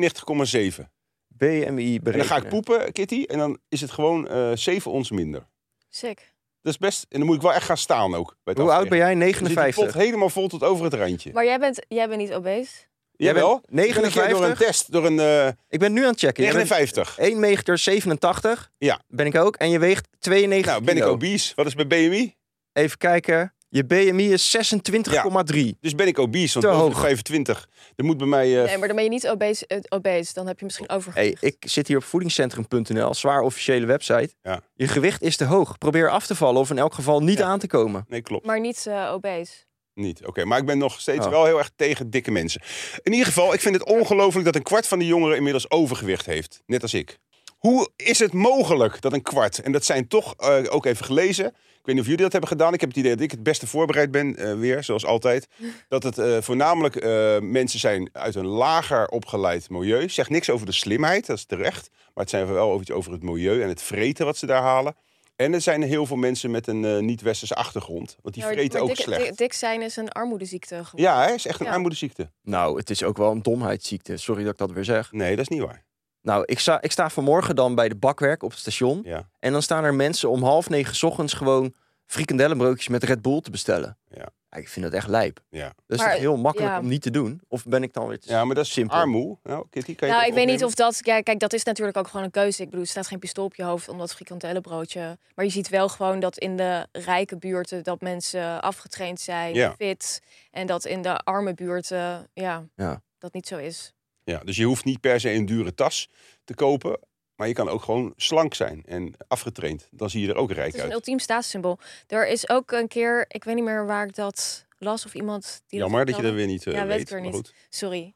[SPEAKER 2] 92,7.
[SPEAKER 3] BMI berekenen.
[SPEAKER 2] En dan ga ik poepen, Kitty, en dan is het gewoon eh 7 ons minder.
[SPEAKER 4] Sick.
[SPEAKER 2] Dat is best. En dan moet ik wel echt gaan staan ook. bij het
[SPEAKER 3] Hoe oud
[SPEAKER 2] afwegen.
[SPEAKER 3] ben jij?
[SPEAKER 2] Dan zit die
[SPEAKER 3] 59.
[SPEAKER 2] pot helemaal vol tot over het randje.
[SPEAKER 4] Maar jij bent, jij bent niet obese.
[SPEAKER 3] Jij bent
[SPEAKER 2] Jawel. Ik ben een keer
[SPEAKER 3] 59?
[SPEAKER 2] Door een test, door een eh
[SPEAKER 3] Ik ben nu aan het checken. Jij bent
[SPEAKER 2] 59.
[SPEAKER 3] 1 meter 87.
[SPEAKER 2] Ja.
[SPEAKER 3] Ben ik ook. En je weegt 92
[SPEAKER 2] Nou, ben ik
[SPEAKER 3] kilo.
[SPEAKER 2] obese. Wat is mijn BMI?
[SPEAKER 3] Even kijken. Je BMI is 26,3.
[SPEAKER 2] Dus ben ik obese, want
[SPEAKER 3] Te
[SPEAKER 2] boven de
[SPEAKER 3] hoog.
[SPEAKER 2] 25. Er moet bij mij... eh,
[SPEAKER 4] Nee, maar dan ben je niet obese. eh, obese. Dan heb je misschien
[SPEAKER 3] Hey,
[SPEAKER 4] overgewicht.
[SPEAKER 3] ik zit hier op voedingscentrum.nl, zwaar officiële website.
[SPEAKER 2] Ja.
[SPEAKER 3] Je gewicht is te hoog. Probeer af te vallen of in elk geval niet
[SPEAKER 2] Ja.
[SPEAKER 3] aan te komen.
[SPEAKER 2] Nee, klopt.
[SPEAKER 4] Maar niet eh, obese.
[SPEAKER 2] Niet. Oké, maar ik ben nog steeds
[SPEAKER 3] Oh.
[SPEAKER 2] wel heel erg tegen dikke mensen. In ieder geval, ik vind het ongelooflijk dat een kwart van de jongeren inmiddels overgewicht heeft. Net als ik. Hoe is het mogelijk dat een kwart, en dat zijn toch eh, ook even gelezen. Ik weet niet of jullie dat hebben gedaan. Ik heb het idee dat ik het beste voorbereid ben, eh, weer, zoals
[SPEAKER 4] [laughs]
[SPEAKER 2] altijd. Dat het eh, voornamelijk eh, mensen zijn uit een lager opgeleid milieu. Zegt niks over de slimheid, dat is terecht. Maar het zijn wel over iets over het milieu en het vreten wat ze daar halen. En er zijn heel veel mensen met een eh, niet-westerse achtergrond. Want die
[SPEAKER 4] Ja, maar-
[SPEAKER 2] vreten
[SPEAKER 4] Nou, maar
[SPEAKER 2] ook
[SPEAKER 4] dik,
[SPEAKER 2] slecht.
[SPEAKER 4] Dik, dik zijn is een armoedeziekte. geworden.
[SPEAKER 2] Ja, hè? is echt een
[SPEAKER 4] Ja.
[SPEAKER 2] armoedeziekte.
[SPEAKER 3] Nou, het is ook wel een domheidsziekte. Sorry dat ik dat weer zeg.
[SPEAKER 2] Nee, dat is niet waar.
[SPEAKER 3] Nou, ik sta, ik sta vanmorgen dan bij de bakwerk op het station.
[SPEAKER 2] Ja.
[SPEAKER 3] En dan staan er mensen om half negen 's ochtends gewoon frikandellenbroodjes met Red Bull te bestellen.
[SPEAKER 2] Ja.
[SPEAKER 3] ik vind dat echt lijp.
[SPEAKER 2] Ja.
[SPEAKER 3] Dat is
[SPEAKER 4] Maar,
[SPEAKER 3] toch heel makkelijk
[SPEAKER 4] ja.
[SPEAKER 3] om niet te doen? Of ben ik dan weer te...
[SPEAKER 2] ja, maar dat is
[SPEAKER 3] Simpel.
[SPEAKER 2] armoe. Nou, Kitty, kan je
[SPEAKER 4] Nou,
[SPEAKER 2] dat
[SPEAKER 4] ik weet niet
[SPEAKER 2] opnemen?
[SPEAKER 4] of dat. Ja, kijk, dat is natuurlijk ook gewoon een keuze. Ik bedoel, er staat geen pistool op je hoofd om dat frikandellenbroodje. Maar je ziet wel gewoon dat in de rijke buurten dat mensen afgetraind zijn,
[SPEAKER 2] Ja.
[SPEAKER 4] fit. En dat in de arme buurten, ja,
[SPEAKER 3] Ja.
[SPEAKER 4] dat niet zo is.
[SPEAKER 2] Ja, dus je hoeft niet per se een dure tas te kopen. Maar je kan ook gewoon slank zijn en afgetraind. Dan zie je er ook rijk
[SPEAKER 4] Het is een
[SPEAKER 2] uit.
[SPEAKER 4] ultiem staatssymbool. Er is ook een keer, ik weet niet meer waar ik dat las of iemand die
[SPEAKER 2] Jammer dat je dat
[SPEAKER 4] vertelde.
[SPEAKER 2] weer niet eh,
[SPEAKER 4] Ja, weet
[SPEAKER 2] weet.
[SPEAKER 4] ik weer
[SPEAKER 2] maar
[SPEAKER 4] niet.
[SPEAKER 2] goed.
[SPEAKER 4] Sorry.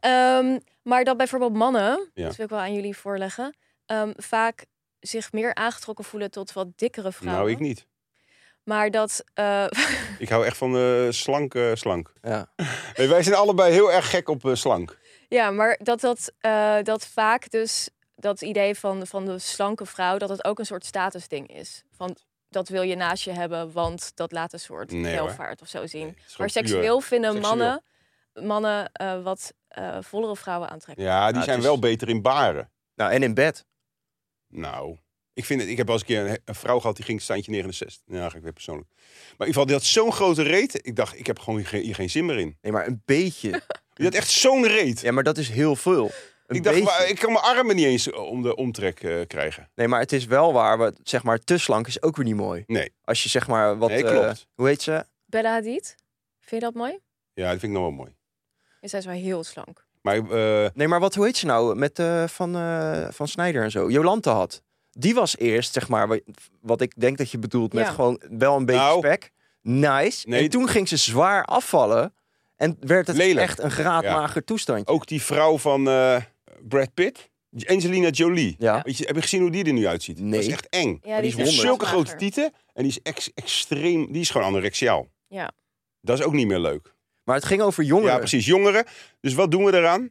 [SPEAKER 4] Ehm, maar dat bijvoorbeeld mannen,
[SPEAKER 2] Ja.
[SPEAKER 4] dat wil ik wel aan jullie voorleggen, ehm, vaak zich meer aangetrokken voelen tot wat dikkere vrouwen.
[SPEAKER 2] Nou, ik niet.
[SPEAKER 4] Maar dat. eh, [laughs]
[SPEAKER 2] Ik hou echt van eh, slank, eh, slank.
[SPEAKER 3] Ja.
[SPEAKER 2] Nee, wij zijn allebei heel erg gek op eh, slank.
[SPEAKER 4] ja, maar dat, dat, eh, dat vaak dus. Dat idee van, van de slanke vrouw, dat het ook een soort statusding is. Van dat wil je naast je hebben, want dat laat een soort
[SPEAKER 2] Nee, hoor.
[SPEAKER 4] welvaart of zo zien.
[SPEAKER 2] Nee, het is gewoon
[SPEAKER 4] maar
[SPEAKER 2] puur
[SPEAKER 4] seksueel vinden
[SPEAKER 2] seksueel.
[SPEAKER 4] mannen, mannen eh, wat eh, vollere vrouwen aantrekken.
[SPEAKER 2] Ja, die
[SPEAKER 3] het
[SPEAKER 2] zijn
[SPEAKER 3] is-
[SPEAKER 2] wel beter in baren.
[SPEAKER 3] Nou, en in bed.
[SPEAKER 2] Nou, ik, vind het, ik heb wel eens een keer een, een vrouw gehad die ging standje 69. Nou, ga ik weer persoonlijk. Maar in ieder geval, die had zo'n grote reet. Ik dacht, ik heb gewoon hier, geen- hier geen zin meer in.
[SPEAKER 3] Nee, maar een beetje.
[SPEAKER 2] [laughs] Die had echt zo'n reet.
[SPEAKER 3] Ja, maar dat is heel veel. Een
[SPEAKER 2] Ik dacht,
[SPEAKER 3] beetje.
[SPEAKER 2] maar ik kan mijn armen niet eens om de omtrek eh, krijgen.
[SPEAKER 3] Nee, maar het is wel waar. Wat, zeg maar, te slank is ook weer niet mooi.
[SPEAKER 2] Nee.
[SPEAKER 3] Als je zeg maar wat...
[SPEAKER 2] Nee,
[SPEAKER 3] eh,
[SPEAKER 2] klopt.
[SPEAKER 3] hoe heet ze?
[SPEAKER 4] Bella Hadid, vind je dat mooi?
[SPEAKER 2] Ja, dat vind ik nog wel mooi.
[SPEAKER 4] Ja, Zij is wel heel slank.
[SPEAKER 2] Maar eh,
[SPEAKER 3] Nee, maar wat, hoe heet ze nou? Met eh, van, eh, van Snijder en zo. Jolante had. Die was eerst, zeg maar, wat, wat ik denk dat je bedoelt met
[SPEAKER 4] Ja.
[SPEAKER 3] gewoon wel een beetje
[SPEAKER 2] Nou.
[SPEAKER 3] spek. Nice.
[SPEAKER 2] Nee.
[SPEAKER 3] En toen ging ze zwaar afvallen. En werd het
[SPEAKER 2] Lelijk. Oh.
[SPEAKER 3] echt een graadmager toestandje.
[SPEAKER 2] ook die vrouw van eh, Brad Pitt, Angelina Jolie.
[SPEAKER 3] Ja.
[SPEAKER 2] Weet je, heb je gezien hoe die er nu uitziet?
[SPEAKER 3] Nee.
[SPEAKER 2] Dat is echt eng.
[SPEAKER 4] Ja, die
[SPEAKER 2] die
[SPEAKER 4] is dus
[SPEAKER 2] heeft
[SPEAKER 3] honderd.
[SPEAKER 2] zulke grote
[SPEAKER 4] Lager.
[SPEAKER 2] tieten en die is ex- extreem, die is gewoon anorexiaal.
[SPEAKER 4] Ja.
[SPEAKER 2] Dat is ook niet meer leuk.
[SPEAKER 3] Maar het ging over
[SPEAKER 2] Ja,
[SPEAKER 3] jongeren.
[SPEAKER 2] precies. Jongeren. Dus wat doen we daaraan?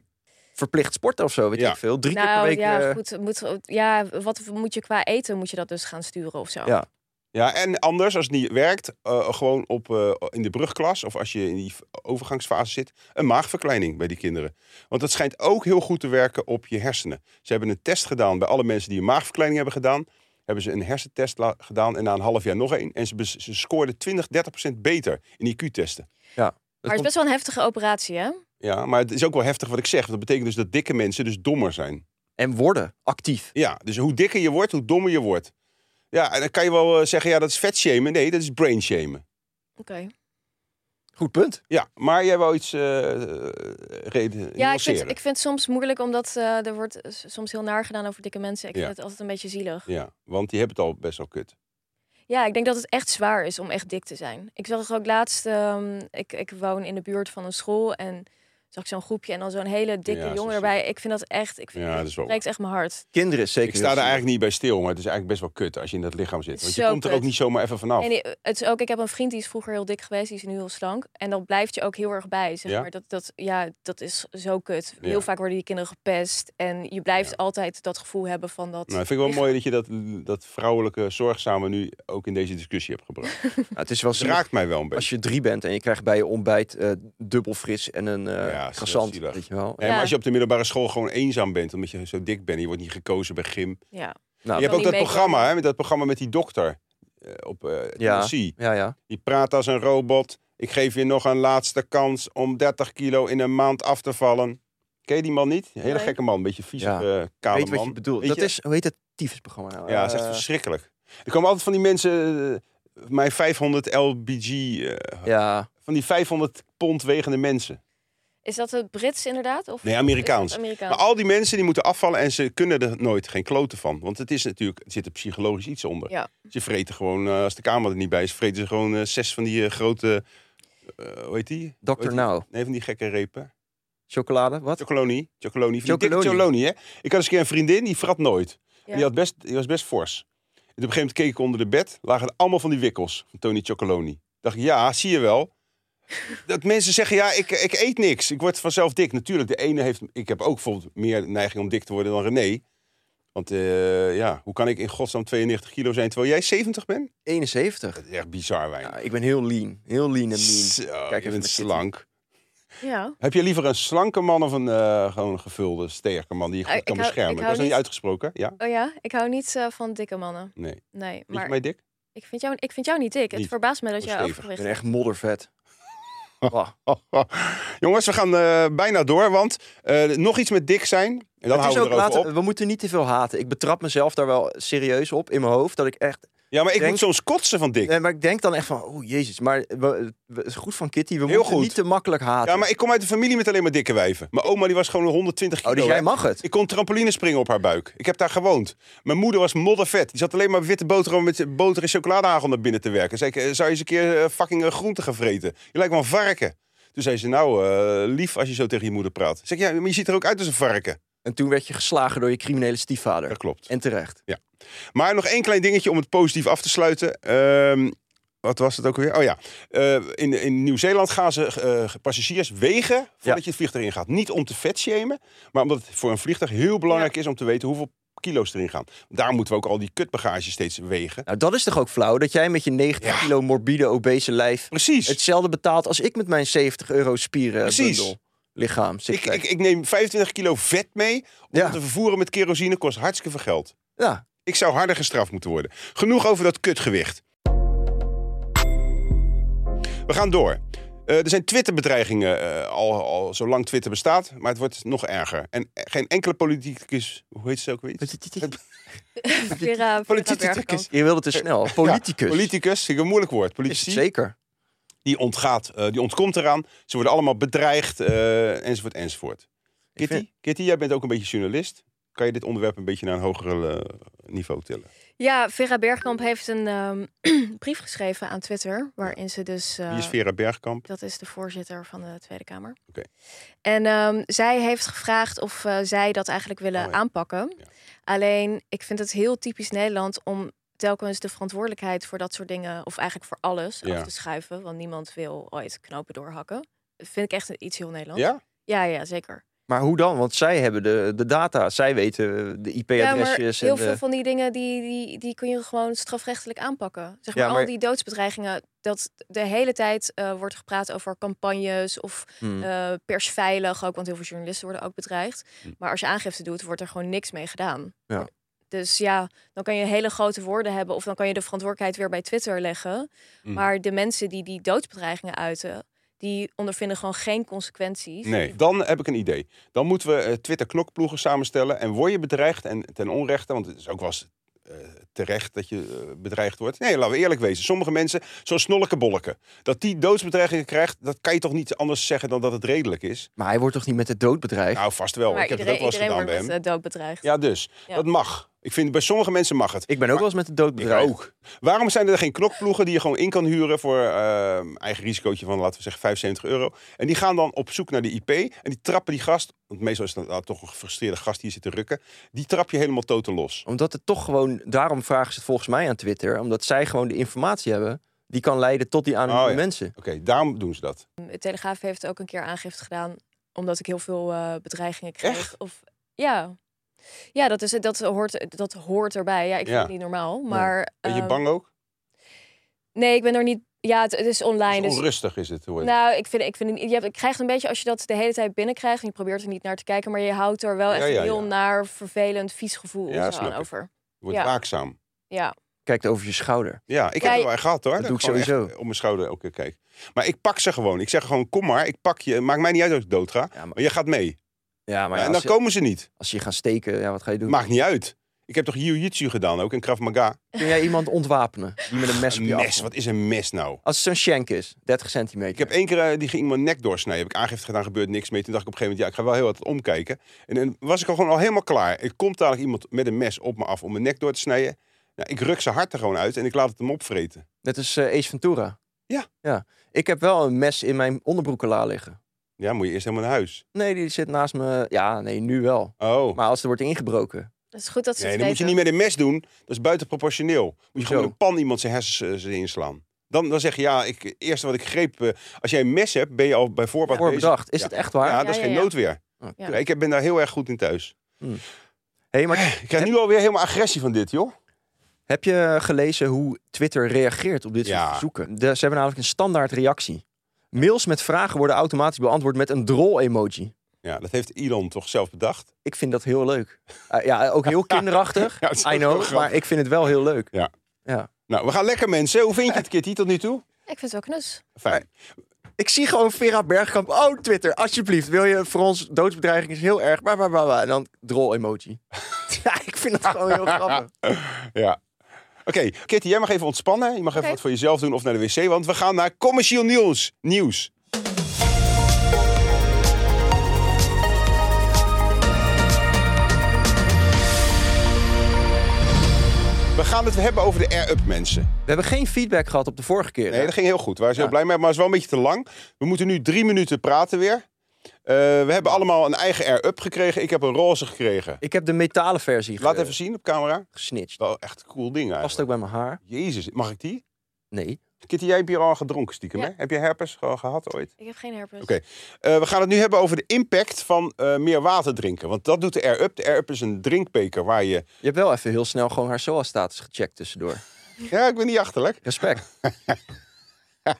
[SPEAKER 3] Verplicht sporten of zo, weet
[SPEAKER 2] Ja.
[SPEAKER 3] ik veel. Drie keer per
[SPEAKER 4] Nou
[SPEAKER 3] week.
[SPEAKER 4] ja,
[SPEAKER 3] eh,
[SPEAKER 4] goed. het Moet, ja, wat moet je qua eten? Moet je dat dus gaan sturen of zo?
[SPEAKER 3] Ja.
[SPEAKER 2] Ja, en anders, als het niet werkt, eh, gewoon op, eh, in de brugklas of als je in die v- overgangsfase zit, een maagverkleining bij die kinderen. Want dat schijnt ook heel goed te werken op je hersenen. Ze hebben een test gedaan bij alle mensen die een maagverkleining hebben gedaan. Hebben ze een hersentest la- gedaan en na een half jaar nog één. En ze, bes- ze scoorden 20, 30 procent beter in IQ-testen.
[SPEAKER 3] dat
[SPEAKER 4] Maar het is
[SPEAKER 3] komt-
[SPEAKER 4] best wel een heftige operatie, hè?
[SPEAKER 2] Ja, maar het is ook wel heftig wat ik zeg. Want dat betekent dus dat dikke mensen dus dommer zijn.
[SPEAKER 3] En worden actief.
[SPEAKER 2] Ja, dus hoe dikker je wordt, hoe dommer je wordt. Ja, en dan kan je wel eh, zeggen, ja, dat is vetshamen. Nee, dat is brainshamen.
[SPEAKER 4] Oké.
[SPEAKER 3] Goed punt.
[SPEAKER 2] Ja, maar jij wou iets eh eh, reden.
[SPEAKER 4] Ja, ik vind,
[SPEAKER 2] nuanceren.
[SPEAKER 4] ik vind het soms moeilijk, omdat eh, er wordt eh, soms heel naar gedaan over dikke mensen. Ik
[SPEAKER 2] Ja.
[SPEAKER 4] vind het altijd een beetje zielig.
[SPEAKER 2] Ja, want die hebben het al best wel kut.
[SPEAKER 4] Ja, ik denk dat het echt zwaar is om echt dik te zijn. Ik zag ook laatst, ehm, ik, ik woon in de buurt van een school en zag ik zo'n groepje en dan zo'n hele dikke
[SPEAKER 2] Ja, zo
[SPEAKER 4] jongen
[SPEAKER 2] zie
[SPEAKER 4] erbij. Ik vind dat echt, ik vind,
[SPEAKER 2] Ja, dat
[SPEAKER 4] dat
[SPEAKER 2] is wel-
[SPEAKER 4] breekt echt mijn hart.
[SPEAKER 3] Kinderen is zeker. dus-
[SPEAKER 2] Ik sta
[SPEAKER 3] heel
[SPEAKER 2] er
[SPEAKER 3] zielig.
[SPEAKER 2] eigenlijk niet bij stil, maar het is eigenlijk best wel kut als je in dat lichaam zit. Want je
[SPEAKER 4] Zo
[SPEAKER 2] komt er ook
[SPEAKER 4] kut.
[SPEAKER 2] niet zomaar even vanaf.
[SPEAKER 4] En die- het is ook, ik heb een vriend die is vroeger heel dik geweest, die is nu heel slank. En dat blijft je ook heel erg bij, zeg
[SPEAKER 2] Ja?
[SPEAKER 4] maar. Dat, dat, ja, dat is zo kut.
[SPEAKER 2] Ja.
[SPEAKER 4] Heel vaak worden die kinderen gepest. En je blijft
[SPEAKER 2] Ja.
[SPEAKER 4] altijd dat gevoel hebben van dat...
[SPEAKER 2] Nou, vind ik wel
[SPEAKER 4] lichaam.
[SPEAKER 2] mooi dat je dat, dat vrouwelijke zorgzame nu ook in deze discussie hebt
[SPEAKER 4] [laughs]
[SPEAKER 2] gebracht.
[SPEAKER 3] Ja, Nou, het is wel
[SPEAKER 2] Het
[SPEAKER 3] zielig
[SPEAKER 2] raakt mij wel een beetje.
[SPEAKER 3] als je drie bent en je krijgt bij je ontbijt eh, dubbel fris en een eh
[SPEAKER 2] Ja, is
[SPEAKER 3] croissant,
[SPEAKER 2] heel zielig.
[SPEAKER 3] weet je wel.
[SPEAKER 2] Nee, maar
[SPEAKER 4] Ja.
[SPEAKER 2] als je op de middelbare school gewoon eenzaam bent, omdat je zo dik bent, je wordt niet gekozen bij gym.
[SPEAKER 4] Ja.
[SPEAKER 3] Nou,
[SPEAKER 2] je hebt ook dat
[SPEAKER 4] niet meekomen.
[SPEAKER 2] programma, hè, met dat programma met die dokter eh, op eh
[SPEAKER 3] Ja.
[SPEAKER 2] TLC.
[SPEAKER 3] ja, ja.
[SPEAKER 2] Die praat als een robot. Ik geef je nog een laatste kans om 30 kilo in een maand af te vallen. Ken je die man niet? Een hele
[SPEAKER 4] Nee.
[SPEAKER 2] gekke man, een beetje vieze,
[SPEAKER 3] Ja.
[SPEAKER 2] eh, kale
[SPEAKER 3] weet wat
[SPEAKER 2] man.
[SPEAKER 3] je bedoelt.
[SPEAKER 2] Weet
[SPEAKER 3] dat
[SPEAKER 2] je?
[SPEAKER 3] is, hoe heet dat tyfusprogramma nou?
[SPEAKER 2] Ja, dat is echt
[SPEAKER 3] Eh,
[SPEAKER 2] verschrikkelijk. Er komen altijd van die mensen, eh, mijn 500 lbg, eh,
[SPEAKER 3] Ja,
[SPEAKER 2] van die 500 pond wegende mensen.
[SPEAKER 4] Is dat het Brits inderdaad? Of
[SPEAKER 2] Nee, Amerikaans.
[SPEAKER 4] is dat Amerikaans.
[SPEAKER 2] Maar al die mensen die moeten afvallen en ze kunnen er nooit geen kloten van. Want het is natuurlijk, het zit er psychologisch iets onder.
[SPEAKER 4] Ja.
[SPEAKER 2] Ze vreten gewoon, eh, als de kamer er niet bij is, vreten ze gewoon eh, zes van die eh, grote, eh hoe heet die? Weet
[SPEAKER 3] Dr.
[SPEAKER 2] je-
[SPEAKER 3] Nou.
[SPEAKER 2] Nee, van die gekke repen.
[SPEAKER 3] Chocolade, wat?
[SPEAKER 2] Chocoloni. Chocoloni. Van die dikke
[SPEAKER 3] Chocoloni.
[SPEAKER 2] Chocoloni, hè? Ik had eens een keer een vriendin, die vrat nooit. En
[SPEAKER 4] Ja.
[SPEAKER 2] Die, had best, die was best fors. En op een gegeven moment keek ik onder de bed, lagen er allemaal van die wikkels van Tony Chocoloni. Dacht ik, ja, zie je wel. Dat mensen zeggen, ja, ik, ik eet niks. Ik word vanzelf dik. Natuurlijk, de ene heeft... Ik heb ook bijvoorbeeld meer neiging om dik te worden dan René. Want eh, ja, hoe kan ik in godsnaam 92 kilo zijn terwijl jij 70 bent?
[SPEAKER 3] 71.
[SPEAKER 2] Dat is echt bizar,
[SPEAKER 3] Ja,
[SPEAKER 2] weinig.
[SPEAKER 3] ik ben heel lean. Heel lean en mean.
[SPEAKER 2] Zo,
[SPEAKER 3] even
[SPEAKER 2] je bent
[SPEAKER 3] naar Kitty.
[SPEAKER 2] slank.
[SPEAKER 4] Ja.
[SPEAKER 2] Heb je liever een slanke man of een eh, gewoon een gevulde, sterke man die je goed
[SPEAKER 4] Eh, ik
[SPEAKER 2] kan
[SPEAKER 4] hou-
[SPEAKER 2] beschermen?
[SPEAKER 4] ik
[SPEAKER 2] Dat
[SPEAKER 4] hou
[SPEAKER 2] is nog niet
[SPEAKER 4] niet-
[SPEAKER 2] uitgesproken, ja?
[SPEAKER 4] Oh ja, ik hou niet eh, van dikke mannen.
[SPEAKER 2] Nee. Vind
[SPEAKER 4] Nee,
[SPEAKER 2] je
[SPEAKER 4] maar
[SPEAKER 2] mij dik?
[SPEAKER 4] ik, vind jou, ik vind jou niet dik.
[SPEAKER 2] Niet.
[SPEAKER 4] Het verbaast me dat
[SPEAKER 2] Oh,
[SPEAKER 4] jij
[SPEAKER 2] stevig.
[SPEAKER 3] Ik
[SPEAKER 4] overgewicht
[SPEAKER 3] ben echt moddervet. Ah,
[SPEAKER 2] Oh, Jongens, we gaan eh, bijna door, want eh, nog iets met dik zijn. En dan
[SPEAKER 3] het is
[SPEAKER 2] houden we
[SPEAKER 3] ook
[SPEAKER 2] erover
[SPEAKER 3] later,
[SPEAKER 2] op.
[SPEAKER 3] we moeten niet te veel haten. Ik betrap mezelf daar wel serieus op in mijn hoofd. Dat ik echt.
[SPEAKER 2] Ja, maar ik
[SPEAKER 3] denk-
[SPEAKER 2] moet soms kotsen van dik.
[SPEAKER 3] Nee, maar ik denk dan echt van, oh jezus. Maar we, we- het is goed van Kitty. We
[SPEAKER 2] Heel
[SPEAKER 3] moeten
[SPEAKER 2] goed.
[SPEAKER 3] niet te makkelijk haten.
[SPEAKER 2] Ja, maar ik kom uit een familie met alleen maar dikke wijven. Mijn oma die was gewoon 120 kilo.
[SPEAKER 3] oh, dus jij
[SPEAKER 2] hè.
[SPEAKER 3] mag het.
[SPEAKER 2] Ik kon trampoline springen op haar buik. Ik heb daar gewoond. Mijn moeder was moddervet. Die zat alleen maar witte boterham met boter en chocoladehagel naar binnen te werken. Zei ik, eh, zou je eens een keer eh, fucking eh, groente gaan vreten? Je lijkt wel een varken. Toen zei ze, nou, eh, lief als je zo tegen je moeder praat. Zeg ik, ja, maar je ziet er ook uit als een varken.
[SPEAKER 3] En toen werd je geslagen door je criminele stiefvader.
[SPEAKER 2] Dat klopt.
[SPEAKER 3] En terecht.
[SPEAKER 2] Maar nog één klein dingetje om het positief af te sluiten. Ehm, wat was het ook weer? Oh ja, Eh, in, in Nieuw-Zeeland gaan ze eh, passagiers wegen voordat
[SPEAKER 3] Ja.
[SPEAKER 2] je het vliegtuig ingaat. Niet om te vetshamen, maar omdat het voor een vliegtuig heel belangrijk is om te weten hoeveel kilo's erin gaan. Daar moeten we ook al die kutbagage steeds wegen.
[SPEAKER 3] Nou, dat is toch ook flauw? Dat jij met je 90
[SPEAKER 2] Ja.
[SPEAKER 3] kilo morbide, obese lijf
[SPEAKER 2] Precies.
[SPEAKER 3] hetzelfde betaalt als ik met mijn 70 euro spieren
[SPEAKER 2] Precies.
[SPEAKER 3] bundel. lichaam.
[SPEAKER 2] Ik,
[SPEAKER 3] sixpack.
[SPEAKER 2] ik, ik neem 25 kilo vet mee. Om
[SPEAKER 3] Ja.
[SPEAKER 2] te vervoeren met kerosine kost hartstikke veel geld. [laughs]
[SPEAKER 3] Ja,
[SPEAKER 2] Ik zou harder gestraft moeten worden. Genoeg over dat kutgewicht. We gaan door. Eh, er zijn Twitter-bedreigingen eh, al, al zolang Twitter bestaat, maar het wordt nog erger. En eh, geen enkele politicus, hoe heet ze ook weer? iets?
[SPEAKER 4] heeft. Vera, Vera Bergkamp.
[SPEAKER 2] Politicus.
[SPEAKER 3] je wilde te snel. Politicus.
[SPEAKER 2] Ja, politicus, vind ik een moeilijk woord.
[SPEAKER 3] Is het
[SPEAKER 2] Politici,
[SPEAKER 3] zeker.
[SPEAKER 2] die ontgaat, eh, die ontkomt eraan. Ze worden allemaal bedreigd, eh, enzovoort, enzovoort.
[SPEAKER 3] Ik
[SPEAKER 2] Kitty,
[SPEAKER 3] vind-
[SPEAKER 2] Kitty, jij bent ook een beetje journalist. Kan je dit onderwerp een beetje naar een hoger eh, niveau tillen?
[SPEAKER 4] Ja, Vera Bergkamp heeft een ehm, [clears throat] brief geschreven aan Twitter. Waarin ze dus... eh,
[SPEAKER 2] Die is Vera Bergkamp.
[SPEAKER 4] Dat is de voorzitter van de Tweede Kamer.
[SPEAKER 2] Oké.
[SPEAKER 4] En ehm, zij heeft gevraagd of eh, zij dat eigenlijk willen
[SPEAKER 2] Oh ja.
[SPEAKER 4] aanpakken.
[SPEAKER 2] Ja.
[SPEAKER 4] Alleen, ik vind het heel typisch Nederland om telkens de verantwoordelijkheid voor dat soort dingen, of eigenlijk voor alles,
[SPEAKER 2] Ja.
[SPEAKER 4] af te schuiven. Want niemand wil ooit knopen doorhakken. Dat vind ik echt iets heel Nederlands.
[SPEAKER 2] Ja?
[SPEAKER 4] ja, ja, zeker.
[SPEAKER 3] Maar hoe dan? Want zij hebben de, de data. Zij weten de
[SPEAKER 4] Ja, maar
[SPEAKER 3] IP-adresjes.
[SPEAKER 4] heel
[SPEAKER 3] en de-
[SPEAKER 4] veel van die dingen die, die, die kun je gewoon strafrechtelijk aanpakken. Zeg
[SPEAKER 3] Ja,
[SPEAKER 4] maar,
[SPEAKER 3] maar-
[SPEAKER 4] al die doodsbedreigingen, dat de hele tijd eh, wordt gepraat over campagnes of
[SPEAKER 3] Hmm.
[SPEAKER 4] eh, persveilig ook, want heel veel journalisten worden ook bedreigd.
[SPEAKER 2] Hmm.
[SPEAKER 4] Maar als je aangifte doet, wordt er gewoon niks mee gedaan.
[SPEAKER 3] Ja.
[SPEAKER 4] Dus ja, dan kan je hele grote woorden hebben of dan kan je de verantwoordelijkheid weer bij Twitter leggen.
[SPEAKER 2] Mhm.
[SPEAKER 4] Maar de mensen die die doodsbedreigingen uiten, die ondervinden gewoon geen consequenties.
[SPEAKER 2] Nee, dan heb ik een idee. Dan moeten we eh, Twitter-knokploegen samenstellen. En word je bedreigd en ten onrechte, want het is ook wel eens eh, terecht dat je eh, bedreigd wordt. Nee, laten we eerlijk wezen. Sommige mensen, zoals Snolleke Bolleke, dat die doodsbedreigingen krijgt, dat kan je toch niet anders zeggen dan dat het redelijk is?
[SPEAKER 3] Maar hij wordt toch niet met de dood bedreigd?
[SPEAKER 2] Nou, vast wel.
[SPEAKER 4] Maar
[SPEAKER 2] ik heb
[SPEAKER 4] iedereen,
[SPEAKER 2] het ook wel eens
[SPEAKER 4] iedereen
[SPEAKER 2] gedaan
[SPEAKER 4] wordt
[SPEAKER 2] bij
[SPEAKER 4] met
[SPEAKER 2] hem.
[SPEAKER 4] eh, dood bedreigd.
[SPEAKER 2] Ja, dus.
[SPEAKER 4] Ja.
[SPEAKER 2] Dat mag. Ik vind, bij sommige mensen mag het.
[SPEAKER 3] Ik ben ook wel eens met de dood
[SPEAKER 2] Ik
[SPEAKER 3] bedreigd.
[SPEAKER 2] ook. Waarom zijn er geen knokploegen die je gewoon in kan huren voor eh, eigen risicootje van, laten we zeggen, 75 euro? En die gaan dan op zoek naar de IP en die trappen die gast, want meestal is het nou, toch een gefrustreerde gast die hier zit te rukken, die trap je helemaal totaal los.
[SPEAKER 3] Omdat het toch gewoon, daarom vragen ze het volgens mij aan Twitter. Omdat zij gewoon de informatie hebben die kan leiden tot die anonieme
[SPEAKER 2] Oh, ja.
[SPEAKER 3] mensen.
[SPEAKER 2] Oké, daarom doen ze dat.
[SPEAKER 4] Ehm, De Telegraaf heeft ook een keer aangifte gedaan omdat ik heel veel eh, bedreigingen kreeg.
[SPEAKER 2] Echt?
[SPEAKER 4] Of ja. Ja, dat, is, dat, hoort, dat hoort erbij. Ja, ik vind
[SPEAKER 2] Ja.
[SPEAKER 4] het niet normaal. Maar
[SPEAKER 2] Ben je
[SPEAKER 4] ehm,
[SPEAKER 2] bang ook?
[SPEAKER 4] Nee, ik ben er niet. Ja, het, het is online.
[SPEAKER 2] Het is
[SPEAKER 4] Dus
[SPEAKER 2] onrustig is het hoor. je.
[SPEAKER 4] Nou, ik vind, ik vind het niet- je hebt- ik krijg het een beetje als je dat de hele tijd binnenkrijgt en je probeert er niet naar te kijken, maar je houdt er wel
[SPEAKER 2] Ja,
[SPEAKER 4] echt
[SPEAKER 2] ja,
[SPEAKER 4] een heel
[SPEAKER 2] ja.
[SPEAKER 4] naar, vervelend, vies gevoel
[SPEAKER 2] Ja,
[SPEAKER 4] zo
[SPEAKER 2] snap
[SPEAKER 4] aan
[SPEAKER 2] ik.
[SPEAKER 4] over.
[SPEAKER 2] Je wordt
[SPEAKER 4] ja.
[SPEAKER 2] waakzaam.
[SPEAKER 4] Ja,
[SPEAKER 3] Kijkt over je schouder.
[SPEAKER 2] Ja, ik heb
[SPEAKER 4] Ja, je-
[SPEAKER 2] het wel gehad hoor.
[SPEAKER 3] Dat doe
[SPEAKER 2] ik
[SPEAKER 3] ik
[SPEAKER 2] gewoon
[SPEAKER 3] sowieso.
[SPEAKER 2] echt Om mijn schouder elke keer kijk. Maar ik pak ze gewoon. Ik zeg gewoon, kom maar, ik pak je. Maakt mij niet uit dat ik dood ga.
[SPEAKER 3] Ja, maar,
[SPEAKER 2] Maar je gaat mee.
[SPEAKER 3] ja, maar ja,
[SPEAKER 2] en dan
[SPEAKER 3] als, je,
[SPEAKER 2] komen ze niet.
[SPEAKER 3] als je gaat steken, ja, wat ga je doen?
[SPEAKER 2] Maakt niet uit. Ik heb toch jiu-jitsu gedaan ook in Krav Maga.
[SPEAKER 3] Kun jij iemand ontwapenen die met een mes op
[SPEAKER 2] Een
[SPEAKER 3] je
[SPEAKER 2] mes,
[SPEAKER 3] afkomt?
[SPEAKER 2] wat is een mes nou?
[SPEAKER 3] Als het zo'n shank is, 30 centimeter.
[SPEAKER 2] Ik heb één keer, eh, die ging iemand nek doorsnijden. Heb ik aangifte gedaan, gebeurt niks mee. Toen dacht ik op een gegeven moment, ja, ik ga wel heel wat omkijken. En dan was ik al gewoon al helemaal klaar. Er komt dadelijk iemand met een mes op me af om mijn nek door te snijden. Nou, ik ruk zijn hart er gewoon uit en ik laat het hem opvreten.
[SPEAKER 3] Net als eh, Ace Ventura.
[SPEAKER 2] Ja.
[SPEAKER 3] ja. Ik heb wel een mes in mijn onderbroekela liggen.
[SPEAKER 2] Ja, moet je eerst helemaal naar huis.
[SPEAKER 3] Nee, die zit naast me. Ja, nee, nu wel.
[SPEAKER 2] Oh.
[SPEAKER 3] Maar als er wordt ingebroken.
[SPEAKER 4] het is goed dat ze
[SPEAKER 2] Nee,
[SPEAKER 4] het
[SPEAKER 2] dat moet je
[SPEAKER 4] weten.
[SPEAKER 2] niet met een mes doen. Dat is buitenproportioneel. Moet je gewoon
[SPEAKER 3] Hoezo?
[SPEAKER 2] met een pan iemand zijn hersens eh, inslaan. Dan, dan zeg je, ja, ik, het eerste wat ik greep... eh, als jij een mes hebt, ben je al bij voorbaat bezig.
[SPEAKER 3] Voorbedacht. Is
[SPEAKER 2] Ja.
[SPEAKER 3] het echt waar?
[SPEAKER 2] Ja, dat is
[SPEAKER 4] Ja, ja,
[SPEAKER 2] geen
[SPEAKER 4] ja.
[SPEAKER 2] noodweer.
[SPEAKER 3] Oh,
[SPEAKER 4] Ja.
[SPEAKER 2] Ja, ik ben daar heel erg goed in thuis.
[SPEAKER 3] hey, maar
[SPEAKER 2] Ik krijg nu alweer helemaal agressie van dit, joh.
[SPEAKER 3] heb je gelezen hoe Twitter reageert op dit
[SPEAKER 2] Ja.
[SPEAKER 3] soort verzoeken? De, ze hebben namelijk een standaard reactie. Mails met vragen worden automatisch beantwoord met een drol-emoji.
[SPEAKER 2] Ja, dat heeft Elon toch zelf bedacht.
[SPEAKER 3] Ik vind dat heel leuk. Eh, ja, ook heel kinderachtig.
[SPEAKER 2] [laughs] Ja, het is
[SPEAKER 3] I
[SPEAKER 2] ook heel
[SPEAKER 3] know,
[SPEAKER 2] grappig.
[SPEAKER 3] maar ik vind het wel heel leuk.
[SPEAKER 2] Ja.
[SPEAKER 3] ja.
[SPEAKER 2] Nou, we gaan lekker, mensen. Hoe vind je het, Kitty, tot nu toe?
[SPEAKER 4] Ik vind het wel knus.
[SPEAKER 2] Fijn.
[SPEAKER 3] Ik zie gewoon Vera Bergkamp. Oh, Twitter, alsjeblieft. Wil je voor ons doodsbedreiging is heel erg. Bla, bla, bla, bla. En dan drol-emoji. [laughs] ja, ik vind dat gewoon heel grappig.
[SPEAKER 2] Ja. Oké, Kitty, jij mag even ontspannen. Je mag even
[SPEAKER 4] Oké.
[SPEAKER 2] wat voor jezelf doen of naar de wc, want we gaan naar commercieel nieuws. Nieuws. We gaan het hebben over de air-up mensen.
[SPEAKER 3] We hebben geen feedback gehad op de vorige keer.
[SPEAKER 2] Nee,
[SPEAKER 3] hè?
[SPEAKER 2] dat ging heel goed. We waren heel
[SPEAKER 3] Ja.
[SPEAKER 2] blij mee, maar het is wel een beetje te lang. We moeten nu drie minuten praten weer. Eh, we hebben allemaal een eigen air-up gekregen. Ik heb een roze gekregen.
[SPEAKER 3] Ik eh, heb de metalen versie
[SPEAKER 2] Laat
[SPEAKER 3] ge-
[SPEAKER 2] even zien op camera.
[SPEAKER 3] gesnitcht.
[SPEAKER 2] Wel echt cool ding
[SPEAKER 3] Past
[SPEAKER 2] eigenlijk.
[SPEAKER 3] ook bij mijn haar.
[SPEAKER 2] Jezus, mag ik die?
[SPEAKER 3] Nee.
[SPEAKER 2] Kitty, jij hebt hier al gedronken stiekem,
[SPEAKER 4] Ja.
[SPEAKER 2] hè? Heb je herpes ge- gehad ooit?
[SPEAKER 4] Ik heb geen herpes.
[SPEAKER 2] Oké. Eh, we gaan het nu hebben over de impact van eh, meer water drinken. Want dat doet de air-up. De air-up is een drinkbeker waar je...
[SPEAKER 3] Je hebt wel even heel snel gewoon haar SOA-status gecheckt tussendoor.
[SPEAKER 2] Ja, ik ben niet achterlijk.
[SPEAKER 3] [laughs] Respect.
[SPEAKER 4] Nou,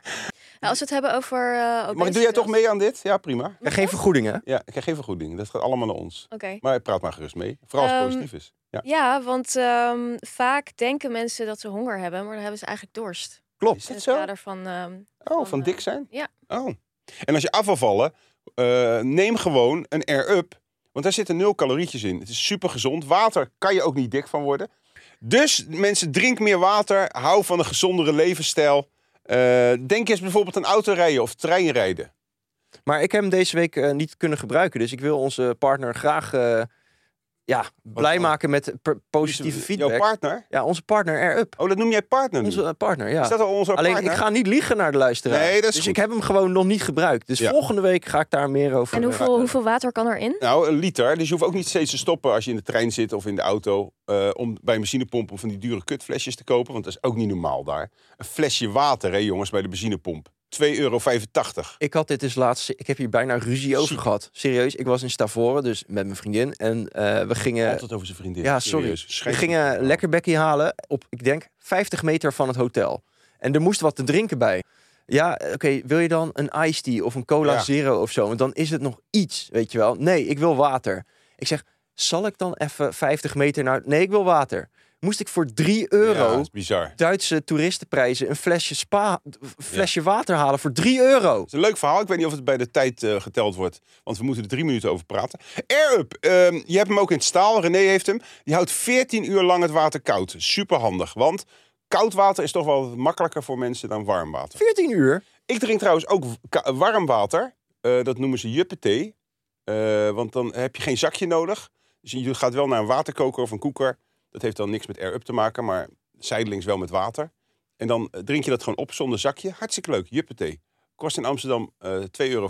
[SPEAKER 4] als we het hebben over... eh
[SPEAKER 2] Maar doe jij toch mee aan dit? Ja, prima.
[SPEAKER 3] En geen vergoeding, hè?
[SPEAKER 2] Ja, ik krijg even goed ding. Dat gaat allemaal naar ons.
[SPEAKER 4] Oké.
[SPEAKER 2] Maar praat maar gerust mee. Vooral als het
[SPEAKER 4] Ehm,
[SPEAKER 2] positief is. Ja.
[SPEAKER 4] Ja, want ehm, vaak denken mensen dat ze honger hebben, maar dan hebben ze eigenlijk dorst.
[SPEAKER 2] Klopt. Is
[SPEAKER 4] In
[SPEAKER 2] dit
[SPEAKER 4] het
[SPEAKER 2] zo?
[SPEAKER 4] kader van... ehm,
[SPEAKER 2] Oh,
[SPEAKER 4] van,
[SPEAKER 2] van
[SPEAKER 4] eh,
[SPEAKER 2] dik zijn?
[SPEAKER 4] ja.
[SPEAKER 2] Oh. En als je af wil vallen, eh, neem gewoon een air-up. Want daar zitten nul calorietjes in. Het is super gezond. Water kan je ook niet dik van worden. Dus mensen, drink meer water. Hou van een gezondere levensstijl. Eh, denk eens bijvoorbeeld aan autorijden of treinrijden.
[SPEAKER 3] Maar ik heb hem deze week eh, niet kunnen gebruiken. Dus ik wil onze partner graag eh, ja, blij
[SPEAKER 2] dan?
[SPEAKER 3] maken met per- positieve
[SPEAKER 2] Jouw
[SPEAKER 3] feedback.
[SPEAKER 2] partner?
[SPEAKER 3] Ja, onze partner Air-Up.
[SPEAKER 2] Oh, dat noem jij partner nu?
[SPEAKER 3] Onze eh, partner, ja.
[SPEAKER 2] Is dat al onze
[SPEAKER 3] Alleen,
[SPEAKER 2] partner?
[SPEAKER 3] ik ga niet liegen naar de luisteraar.
[SPEAKER 2] Nee, dat is
[SPEAKER 3] dus
[SPEAKER 2] goed.
[SPEAKER 3] ik heb hem gewoon nog niet gebruikt. Dus
[SPEAKER 2] Ja.
[SPEAKER 3] volgende week ga ik daar meer over
[SPEAKER 4] En hoeveel, hoeveel water kan erin?
[SPEAKER 2] Nou, een liter. Dus je hoeft ook niet steeds te stoppen als je in de trein zit of in de auto. eh, om bij een benzinepomp om van die dure kutflesjes te kopen. Want dat is ook niet normaal daar. Een flesje water, hè jongens, bij de benzinepomp. 2,85 euro.
[SPEAKER 3] Ik had dit dus laatst... Ik heb hier bijna ruzie over
[SPEAKER 2] Ziek.
[SPEAKER 3] gehad. Serieus, ik was in Stavoren, dus met mijn vriendin. En eh, we gingen...
[SPEAKER 2] Altijd over zijn vriendin.
[SPEAKER 3] Ja, sorry.
[SPEAKER 2] Serieus,
[SPEAKER 3] We
[SPEAKER 2] schijnt-
[SPEAKER 3] gingen lekker bekkie halen op, ik denk, 50 meter van het hotel. En er moest wat te drinken bij. Ja, eh, oké, wil je dan een iced tea of een cola
[SPEAKER 2] Ja.
[SPEAKER 3] zero of zo? Want dan is het nog iets, weet je wel. Nee, ik wil water. Ik zeg, zal ik dan even 50 meter naar... Nee, ik wil water. Moest ik voor 3
[SPEAKER 2] Ja,
[SPEAKER 3] euro
[SPEAKER 2] dat is bizar. Het
[SPEAKER 3] Duitse toeristenprijzen een flesje, spa, flesje water halen voor 3 euro?
[SPEAKER 2] is een leuk verhaal. Ik weet niet of het bij de tijd eh, geteld wordt. Want we moeten er drie minuten over praten. Air-up. ehm, je hebt hem ook in het staal. René heeft hem. Die houdt 14 uur lang het water koud. Super handig. Want koud water is toch wel wat makkelijker voor mensen dan warm water.
[SPEAKER 3] 14 uur?
[SPEAKER 2] Ik drink trouwens ook ka- warm water. Eh, dat noemen ze juppethee. Eh want dan heb je geen zakje nodig. Dus je gaat wel naar een waterkoker of een koeker. Dat heeft dan niks met air-up te maken, maar zijdelings wel met water. En dan eh, drink je dat gewoon op zonder zakje. Hartstikke leuk, juppethee. Kost in Amsterdam eh 2,50 euro.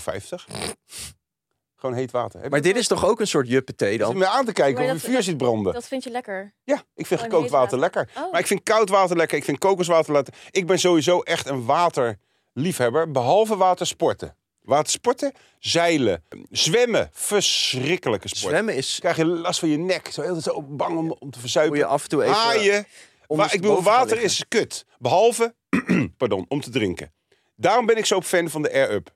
[SPEAKER 2] gewoon heet water. Heb je-
[SPEAKER 3] Maar dit is toch ook een soort juppethee
[SPEAKER 2] Je zit
[SPEAKER 3] dan?
[SPEAKER 2] me aan te kijken
[SPEAKER 4] Maar
[SPEAKER 2] of je
[SPEAKER 4] dat-
[SPEAKER 2] vuur ziet branden.
[SPEAKER 4] Dat vind je lekker.
[SPEAKER 2] Ja, ik vind
[SPEAKER 4] Oh, en
[SPEAKER 2] gekookt
[SPEAKER 4] heet
[SPEAKER 2] water
[SPEAKER 4] water.
[SPEAKER 2] lekker.
[SPEAKER 4] Oh.
[SPEAKER 2] Maar ik vind koud water lekker. Ik vind kokoswater lekker. Ik ben sowieso echt een waterliefhebber. Behalve watersporten. Watersporten, zeilen, zwemmen. Verschrikkelijke sport.
[SPEAKER 3] Zwemmen is...
[SPEAKER 2] Krijg je last van je nek. Zo heel zo bang om, om te verzuipen.
[SPEAKER 3] Moet je af en toe even...
[SPEAKER 2] Haaien.
[SPEAKER 3] onder
[SPEAKER 2] Maar ik
[SPEAKER 3] de
[SPEAKER 2] bedoel,
[SPEAKER 3] boven gaan
[SPEAKER 2] water is kut. Behalve, [clears throat] pardon, om te drinken. Daarom ben ik zo fan van de Air-Up.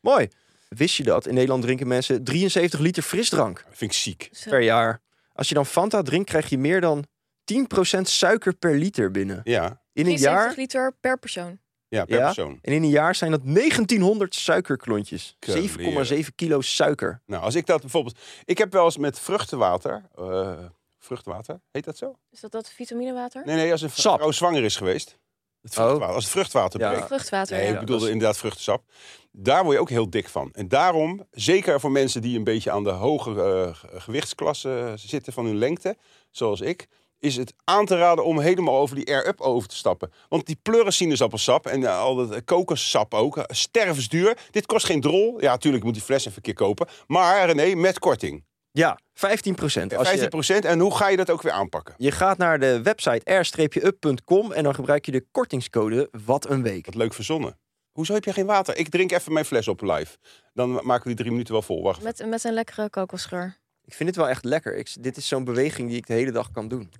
[SPEAKER 3] Mooi. Wist je dat? In Nederland drinken mensen 73 liter frisdrank
[SPEAKER 2] Dat vind ik ziek.
[SPEAKER 3] per jaar. Als je dan Fanta drinkt, krijg je meer dan 10% suiker per liter binnen.
[SPEAKER 2] Ja,
[SPEAKER 3] In een
[SPEAKER 4] 73
[SPEAKER 3] jaar...
[SPEAKER 4] liter per persoon.
[SPEAKER 2] ja per
[SPEAKER 3] Ja.
[SPEAKER 2] persoon.
[SPEAKER 3] En in een jaar zijn dat 1900 suikerklontjes.
[SPEAKER 2] Kaleren.
[SPEAKER 3] 7,7 kilo suiker.
[SPEAKER 2] Nou, als ik dat bijvoorbeeld... Ik heb wel eens met vruchtenwater... eh, vruchtenwater, heet dat zo?
[SPEAKER 4] Is dat dat vitaminewater?
[SPEAKER 2] Nee, nee, als een
[SPEAKER 3] Sap. Oh.
[SPEAKER 2] vrouw zwanger is geweest. Het vruchtwater, Als het vruchtwater
[SPEAKER 3] Ja.
[SPEAKER 2] breekt.
[SPEAKER 4] Vruchtwater.
[SPEAKER 2] Nee,
[SPEAKER 4] ja.
[SPEAKER 2] ik bedoelde
[SPEAKER 3] dat is-
[SPEAKER 2] inderdaad vruchtensap. Daar word je ook heel dik van. En daarom, zeker voor mensen die een beetje aan de hoge eh, ge- gewichtsklasse zitten van hun lengte, zoals ik, is het aan te raden om helemaal over die air-up over te stappen. Want die pleurensinaasappelsap en eh, al dat eh, kokossap ook, eh, stervensduur. Dit kost geen drol. Ja, natuurlijk moet die fles even een keer kopen. Maar René, met korting.
[SPEAKER 3] Ja, 15 procent.
[SPEAKER 2] 15%.
[SPEAKER 3] Je,
[SPEAKER 2] En hoe ga je dat ook weer aanpakken?
[SPEAKER 3] je gaat naar de website air-up.com en dan gebruik je de kortingscode Wat een Week.
[SPEAKER 2] Wat leuk verzonnen. Hoezo heb je geen water? Ik drink even mijn fles op live. Dan maken we die drie minuten wel vol. Wacht.
[SPEAKER 4] Met, met een lekkere kokosgeur.
[SPEAKER 3] Ik vind dit wel echt lekker. Ik, dit is zo'n beweging die ik de hele dag kan doen.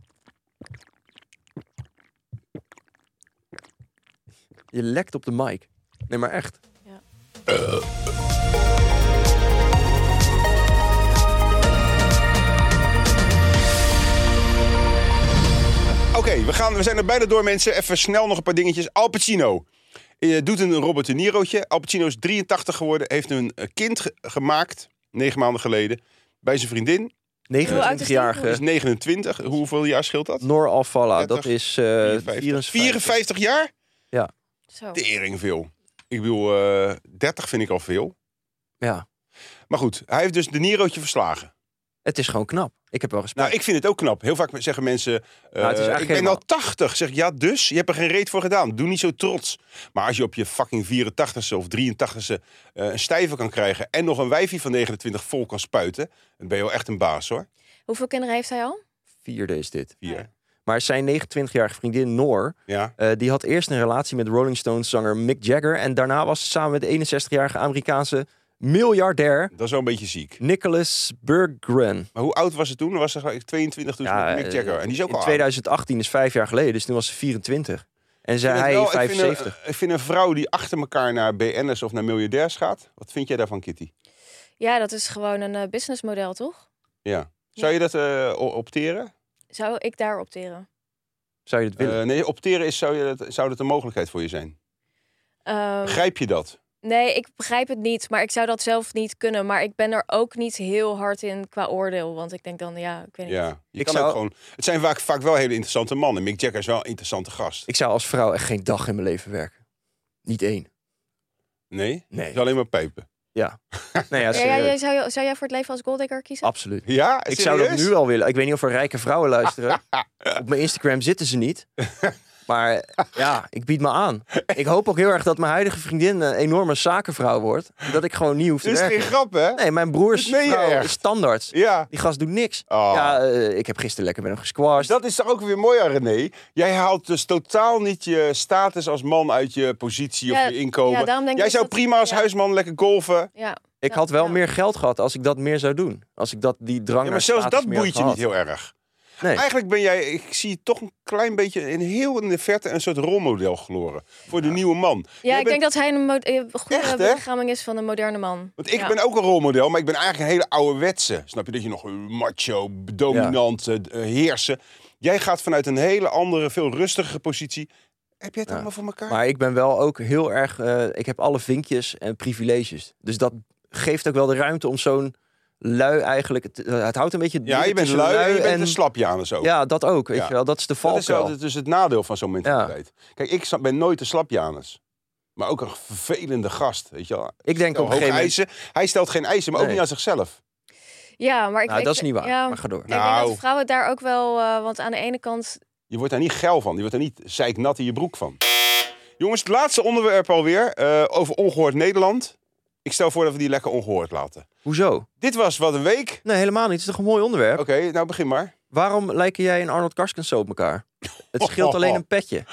[SPEAKER 3] Je lekt op de mic. Nee, maar echt.
[SPEAKER 2] Oké, we, gaan- we zijn er bijna door, mensen. Even snel nog een paar dingetjes. Al Pacino. Eh, doet een Robert De Niro'tje. Al Pacino is 83 geworden. Heeft een eh, kind ge- gemaakt, negen maanden geleden. Bij zijn vriendin.
[SPEAKER 4] oud is die?
[SPEAKER 3] 29-jarige
[SPEAKER 2] Die is 29. Hoeveel jaar scheelt dat?
[SPEAKER 3] Noor Alfalla.
[SPEAKER 2] 30,
[SPEAKER 3] Dat is eh 54.
[SPEAKER 2] 54 jaar?
[SPEAKER 4] Zo.
[SPEAKER 2] Tering veel. Ik bedoel, eh 30 vind ik al veel.
[SPEAKER 3] Ja,
[SPEAKER 2] Maar goed, hij heeft dus De Niro'tje verslagen.
[SPEAKER 3] het is gewoon knap. Ik heb wel respect.
[SPEAKER 2] Nou, ik vind het ook knap. Heel vaak zeggen mensen, eh,
[SPEAKER 3] Nou, het is eigenlijk
[SPEAKER 2] ik ben
[SPEAKER 3] helemaal-
[SPEAKER 2] al 80. Zeg ik, ja dus, je hebt er geen reet voor gedaan. Doe niet zo trots. Maar als je op je fucking 84ste of 83ste eh, een stijver kan krijgen... en nog een wijfie van 29 vol kan spuiten... dan ben je wel echt een baas hoor.
[SPEAKER 4] Hoeveel kinderen heeft hij al?
[SPEAKER 3] Vierde is dit.
[SPEAKER 2] Vier.
[SPEAKER 3] Maar zijn 29-jarige vriendin Noor,
[SPEAKER 2] Ja.
[SPEAKER 3] eh, die had eerst een relatie met Rolling Stones zanger Mick Jagger. En daarna was ze samen met de 61-jarige Amerikaanse miljardair
[SPEAKER 2] Dat is wel een beetje ziek.
[SPEAKER 3] Nicholas Berggren.
[SPEAKER 2] Maar hoe oud was ze toen? Dan was ze gelijk 22 toen ze met Mick Jagger.
[SPEAKER 3] eh,
[SPEAKER 2] En die is ook
[SPEAKER 3] in
[SPEAKER 2] al oud.
[SPEAKER 3] 2018 is vijf jaar geleden, dus toen was ze 24. En
[SPEAKER 2] Ik
[SPEAKER 3] zei
[SPEAKER 2] vind het
[SPEAKER 3] hij
[SPEAKER 2] wel- ik vind een-
[SPEAKER 3] 75.
[SPEAKER 2] Ik vind een vrouw die achter elkaar naar BN'ers of naar miljardairs gaat... wat vind jij daarvan, Kitty?
[SPEAKER 4] Ja, dat is gewoon een eh, businessmodel, toch?
[SPEAKER 2] Ja. Zou je dat eh, o- opteren?
[SPEAKER 4] Zou ik daar opteren?
[SPEAKER 3] Zou je dat willen?
[SPEAKER 2] Eh, nee, opteren is, zou, je dat, zou dat een mogelijkheid voor je zijn?
[SPEAKER 4] Oh. Ehm,
[SPEAKER 2] Begrijp je dat?
[SPEAKER 4] nee, ik begrijp het niet. Maar ik zou dat zelf niet kunnen. Maar ik ben er ook niet heel hard in qua oordeel. Want ik denk dan, ja, ik weet niet.
[SPEAKER 2] Ja. Je
[SPEAKER 3] Ik
[SPEAKER 2] kan
[SPEAKER 3] zou-
[SPEAKER 2] ook gewoon, het zijn vaak, vaak wel hele interessante mannen. Mick Jagger is wel een interessante gast.
[SPEAKER 3] ik zou als vrouw echt geen dag in mijn leven werken. Niet één.
[SPEAKER 2] Nee?
[SPEAKER 3] Nee.
[SPEAKER 2] Het is alleen maar pijpen. [laughs]
[SPEAKER 3] Nou ja,
[SPEAKER 4] Ja, ja,
[SPEAKER 3] serieus.
[SPEAKER 4] jij- zou, je- zou jij voor het leven als golddigger kiezen?
[SPEAKER 3] Absoluut.
[SPEAKER 2] Ja?
[SPEAKER 3] Ik zou dat
[SPEAKER 2] Serieus?
[SPEAKER 3] nu al willen. Ik weet niet of er rijke vrouwen
[SPEAKER 2] [laughs]
[SPEAKER 3] luisteren. Op mijn Instagram zitten ze niet. Maar ja, ik bied me aan. Ik hoop ook heel erg dat mijn huidige vriendin een enorme zakenvrouw wordt. Dat ik gewoon niet hoef te
[SPEAKER 2] Dit is geen
[SPEAKER 3] werken.
[SPEAKER 2] grap, hè?
[SPEAKER 3] Nee, mijn broers
[SPEAKER 2] Dit meen je
[SPEAKER 3] vrouw
[SPEAKER 2] echt?
[SPEAKER 3] is standaard.
[SPEAKER 2] Ja.
[SPEAKER 3] Die gast doet niks.
[SPEAKER 2] Oh.
[SPEAKER 3] Ja, eh, ik heb gisteren lekker met hem gesquashed.
[SPEAKER 2] Dus Dat is toch ook weer mooi aan René? Jij haalt dus totaal niet je status als man uit je positie
[SPEAKER 4] Ja,
[SPEAKER 2] of je inkomen.
[SPEAKER 4] ja, daarom denk ik
[SPEAKER 2] Jij
[SPEAKER 4] dus
[SPEAKER 2] zou
[SPEAKER 4] dat-
[SPEAKER 2] prima als
[SPEAKER 4] ja.
[SPEAKER 2] huisman lekker golven.
[SPEAKER 4] Ja.
[SPEAKER 3] ik
[SPEAKER 4] Ja,
[SPEAKER 3] had wel
[SPEAKER 4] ja.
[SPEAKER 3] meer geld gehad als ik dat meer zou doen. Als ik dat, die drang
[SPEAKER 2] Ja, maar
[SPEAKER 3] naar
[SPEAKER 2] zelfs
[SPEAKER 3] status
[SPEAKER 2] dat
[SPEAKER 3] meer had
[SPEAKER 2] boeit je
[SPEAKER 3] gehad.
[SPEAKER 2] niet heel erg.
[SPEAKER 3] Nee.
[SPEAKER 2] Eigenlijk ben jij, ik zie toch een klein beetje in heel in de verte een soort rolmodel gloren. Voor de nieuwe man. Jij
[SPEAKER 4] Ja, ik
[SPEAKER 2] bent-
[SPEAKER 4] denk dat hij een mo- eh, goede
[SPEAKER 2] Echt, hè?
[SPEAKER 4] belichaming is van een moderne man.
[SPEAKER 2] Want ik
[SPEAKER 4] Ja.
[SPEAKER 2] ben ook een rolmodel, maar ik ben eigenlijk een hele ouderwetse. Snap je dat je nog eh, macho, dominant, eh, d- eh, heersen. Jij gaat vanuit een hele andere, veel rustigere positie. Heb jij het allemaal voor elkaar?
[SPEAKER 3] Maar ik ben wel ook heel erg. eh, ik heb alle vinkjes en privileges. Dus dat geeft ook wel de ruimte om zo'n lui eigenlijk. Het, het houdt een beetje. het
[SPEAKER 2] ja, je bent
[SPEAKER 3] midden tussen
[SPEAKER 2] lui, en je bent een slapjanus ook.
[SPEAKER 3] Ja, dat ook. Weet
[SPEAKER 2] Ja.
[SPEAKER 3] je wel, dat is de
[SPEAKER 2] dat is
[SPEAKER 3] valkuil.
[SPEAKER 2] altijd dus het nadeel van zo'n mentaliteit. Kijk, ik sla- ben nooit een slapjanus. Maar ook een vervelende gast, weet je wel.
[SPEAKER 3] Ik denk
[SPEAKER 2] Stel
[SPEAKER 3] op een
[SPEAKER 2] hoge
[SPEAKER 3] gegeven moment.
[SPEAKER 2] eisen. Hij stelt geen eisen, maar ook
[SPEAKER 3] Nee.
[SPEAKER 2] niet aan zichzelf.
[SPEAKER 4] Ja, maar ik
[SPEAKER 3] Nou,
[SPEAKER 4] ik-
[SPEAKER 3] dat is niet waar.
[SPEAKER 4] ja,
[SPEAKER 3] Maar ga door.
[SPEAKER 4] Ik denk
[SPEAKER 2] Nou.
[SPEAKER 4] dat vrouwen daar ook wel, eh, want aan de ene kant,
[SPEAKER 2] Je wordt daar niet geil van. Je wordt daar niet zeiknat in je broek van. Jongens, het laatste onderwerp alweer. eh, over ongehoord Nederland. Ik stel voor dat we die lekker ongehoord laten.
[SPEAKER 3] Hoezo?
[SPEAKER 2] Dit was Wat een Week.
[SPEAKER 3] Nee, helemaal niet. Het is toch een mooi onderwerp?
[SPEAKER 2] Oké, nou begin maar. [laughs]
[SPEAKER 3] Waarom lijken jij en Arnold Karskens zo op elkaar? Het
[SPEAKER 2] [laughs]
[SPEAKER 3] scheelt alleen een petje.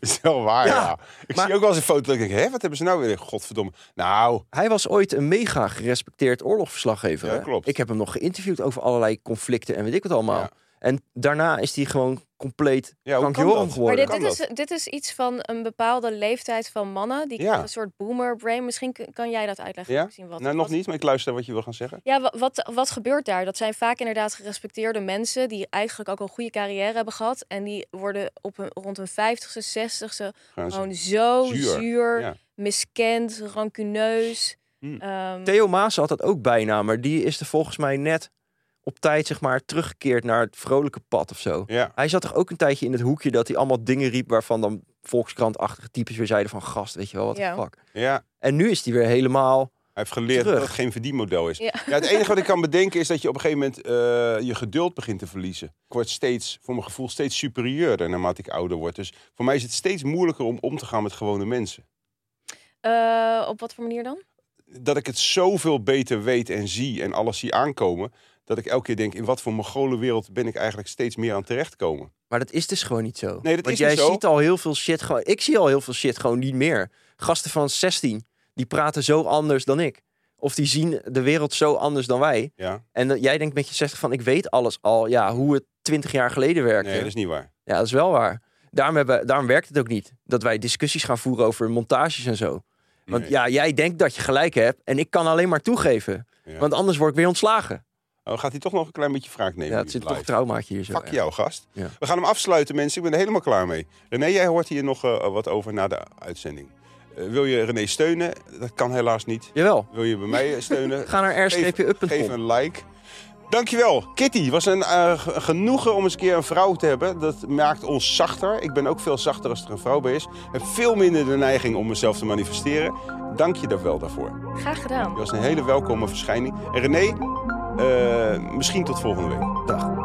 [SPEAKER 2] is wel waar, ja.
[SPEAKER 3] Ja,
[SPEAKER 2] Ik
[SPEAKER 3] maar-
[SPEAKER 2] zie ook wel eens een foto dat ik denk, hè, wat hebben ze nou weer? Godverdomme. Nou,
[SPEAKER 3] Hij was ooit een mega gerespecteerd oorlogsverslaggever.
[SPEAKER 2] Ja,
[SPEAKER 3] hè?
[SPEAKER 2] klopt.
[SPEAKER 3] Ik heb hem nog geïnterviewd over allerlei conflicten en weet ik wat allemaal.
[SPEAKER 2] Ja.
[SPEAKER 3] En daarna is hij gewoon compleet
[SPEAKER 2] Ja, hoe
[SPEAKER 3] Frank
[SPEAKER 2] kan
[SPEAKER 3] Joram
[SPEAKER 2] dat?
[SPEAKER 4] maar
[SPEAKER 3] geworden.
[SPEAKER 4] dit,
[SPEAKER 2] kan
[SPEAKER 4] dit, is, dit is iets van een bepaalde leeftijd van mannen, die
[SPEAKER 2] Ja.
[SPEAKER 4] krijgen een soort boomer brain. Misschien k- kan jij dat uitleggen.
[SPEAKER 2] ja?
[SPEAKER 4] Misschien wat,
[SPEAKER 2] nou, nog
[SPEAKER 4] wat-
[SPEAKER 2] niet, maar ik luister wat je wil gaan zeggen.
[SPEAKER 4] Ja, wa- wat, wat gebeurt daar? Dat zijn vaak inderdaad gerespecteerde mensen die eigenlijk ook een goede carrière hebben gehad. En die worden op hun, rond hun 50ste, 60ste
[SPEAKER 2] Gaan ze-
[SPEAKER 4] gewoon zo
[SPEAKER 2] Zuur,
[SPEAKER 4] zuur,
[SPEAKER 2] ja.
[SPEAKER 4] miskend, rancuneus.
[SPEAKER 2] Hmm.
[SPEAKER 4] Ehm,
[SPEAKER 3] Theo Maas had dat ook bijna, maar die is er volgens mij net op tijd zeg maar teruggekeerd naar het vrolijke pad of zo.
[SPEAKER 2] Ja.
[SPEAKER 3] Hij zat toch ook een tijdje in het hoekje dat hij allemaal dingen riep waarvan dan volkskrantachtige types weer zeiden van gast, weet je wel, wat
[SPEAKER 4] Ja.
[SPEAKER 3] de fuck.
[SPEAKER 2] ja,
[SPEAKER 3] En nu is hij weer helemaal...
[SPEAKER 2] Hij heeft geleerd
[SPEAKER 3] Terug.
[SPEAKER 2] dat het geen verdienmodel is. Ja.
[SPEAKER 4] Ja.
[SPEAKER 2] het enige wat ik kan bedenken is dat je op een gegeven moment eh, je geduld begint te verliezen. Ik word steeds, voor mijn gevoel, steeds superieurder naarmate ik ouder word. Dus voor mij is het steeds moeilijker om om te gaan met gewone mensen.
[SPEAKER 4] eh, op wat voor manier dan?
[SPEAKER 2] Dat ik het zoveel beter weet en zie en alles zie aankomen. Dat ik elke keer denk, in wat voor mogolenwereld ben ik eigenlijk steeds meer aan terechtkomen.
[SPEAKER 3] Maar dat is dus gewoon niet zo.
[SPEAKER 2] Nee, dat
[SPEAKER 3] Want
[SPEAKER 2] is
[SPEAKER 3] jij
[SPEAKER 2] niet zo.
[SPEAKER 3] ziet al heel veel shit gewoon. Ik zie al heel veel shit gewoon niet meer. Gasten van 16, die praten zo anders dan ik. Of die zien de wereld zo anders dan wij.
[SPEAKER 2] Ja,
[SPEAKER 3] En dat jij denkt met je 60 van ik weet alles al. Ja, hoe het 20 jaar geleden werkte.
[SPEAKER 2] nee, dat is niet waar.
[SPEAKER 3] Ja, dat is wel waar. Daarom, hebben, daarom werkt het ook niet. Dat wij discussies gaan voeren over montages en zo. Want
[SPEAKER 2] Nee.
[SPEAKER 3] ja, jij denkt dat je gelijk hebt. En ik kan alleen maar toegeven.
[SPEAKER 2] Ja.
[SPEAKER 3] Want anders word ik weer ontslagen.
[SPEAKER 2] Oh, gaat hij toch nog een klein beetje wraak nemen?
[SPEAKER 3] Ja, het
[SPEAKER 2] nu
[SPEAKER 3] zit
[SPEAKER 2] live?
[SPEAKER 3] toch een traumaatje hier zo.
[SPEAKER 2] Fuck jou, gast.
[SPEAKER 3] Ja.
[SPEAKER 2] We gaan hem afsluiten, mensen. Ik ben er helemaal klaar mee. René, jij hoort hier nog eh, wat over na de uitzending. Eh, wil je René steunen? Dat kan helaas niet.
[SPEAKER 3] Jawel.
[SPEAKER 2] Wil je bij mij eh, steunen?
[SPEAKER 3] [laughs] Ga naar r-up.com.
[SPEAKER 2] Geef een like. Dankjewel, Kitty. Was een eh, ge- genoegen om eens een keer een vrouw te hebben. Dat maakt ons zachter. Ik ben ook veel zachter als er een vrouw bij is. Heb veel minder de neiging om mezelf te manifesteren. Dank je daar wel daarvoor.
[SPEAKER 4] Graag gedaan.
[SPEAKER 2] Je was een hele welkome verschijning. En René, eh, misschien tot volgende week.
[SPEAKER 3] Dag.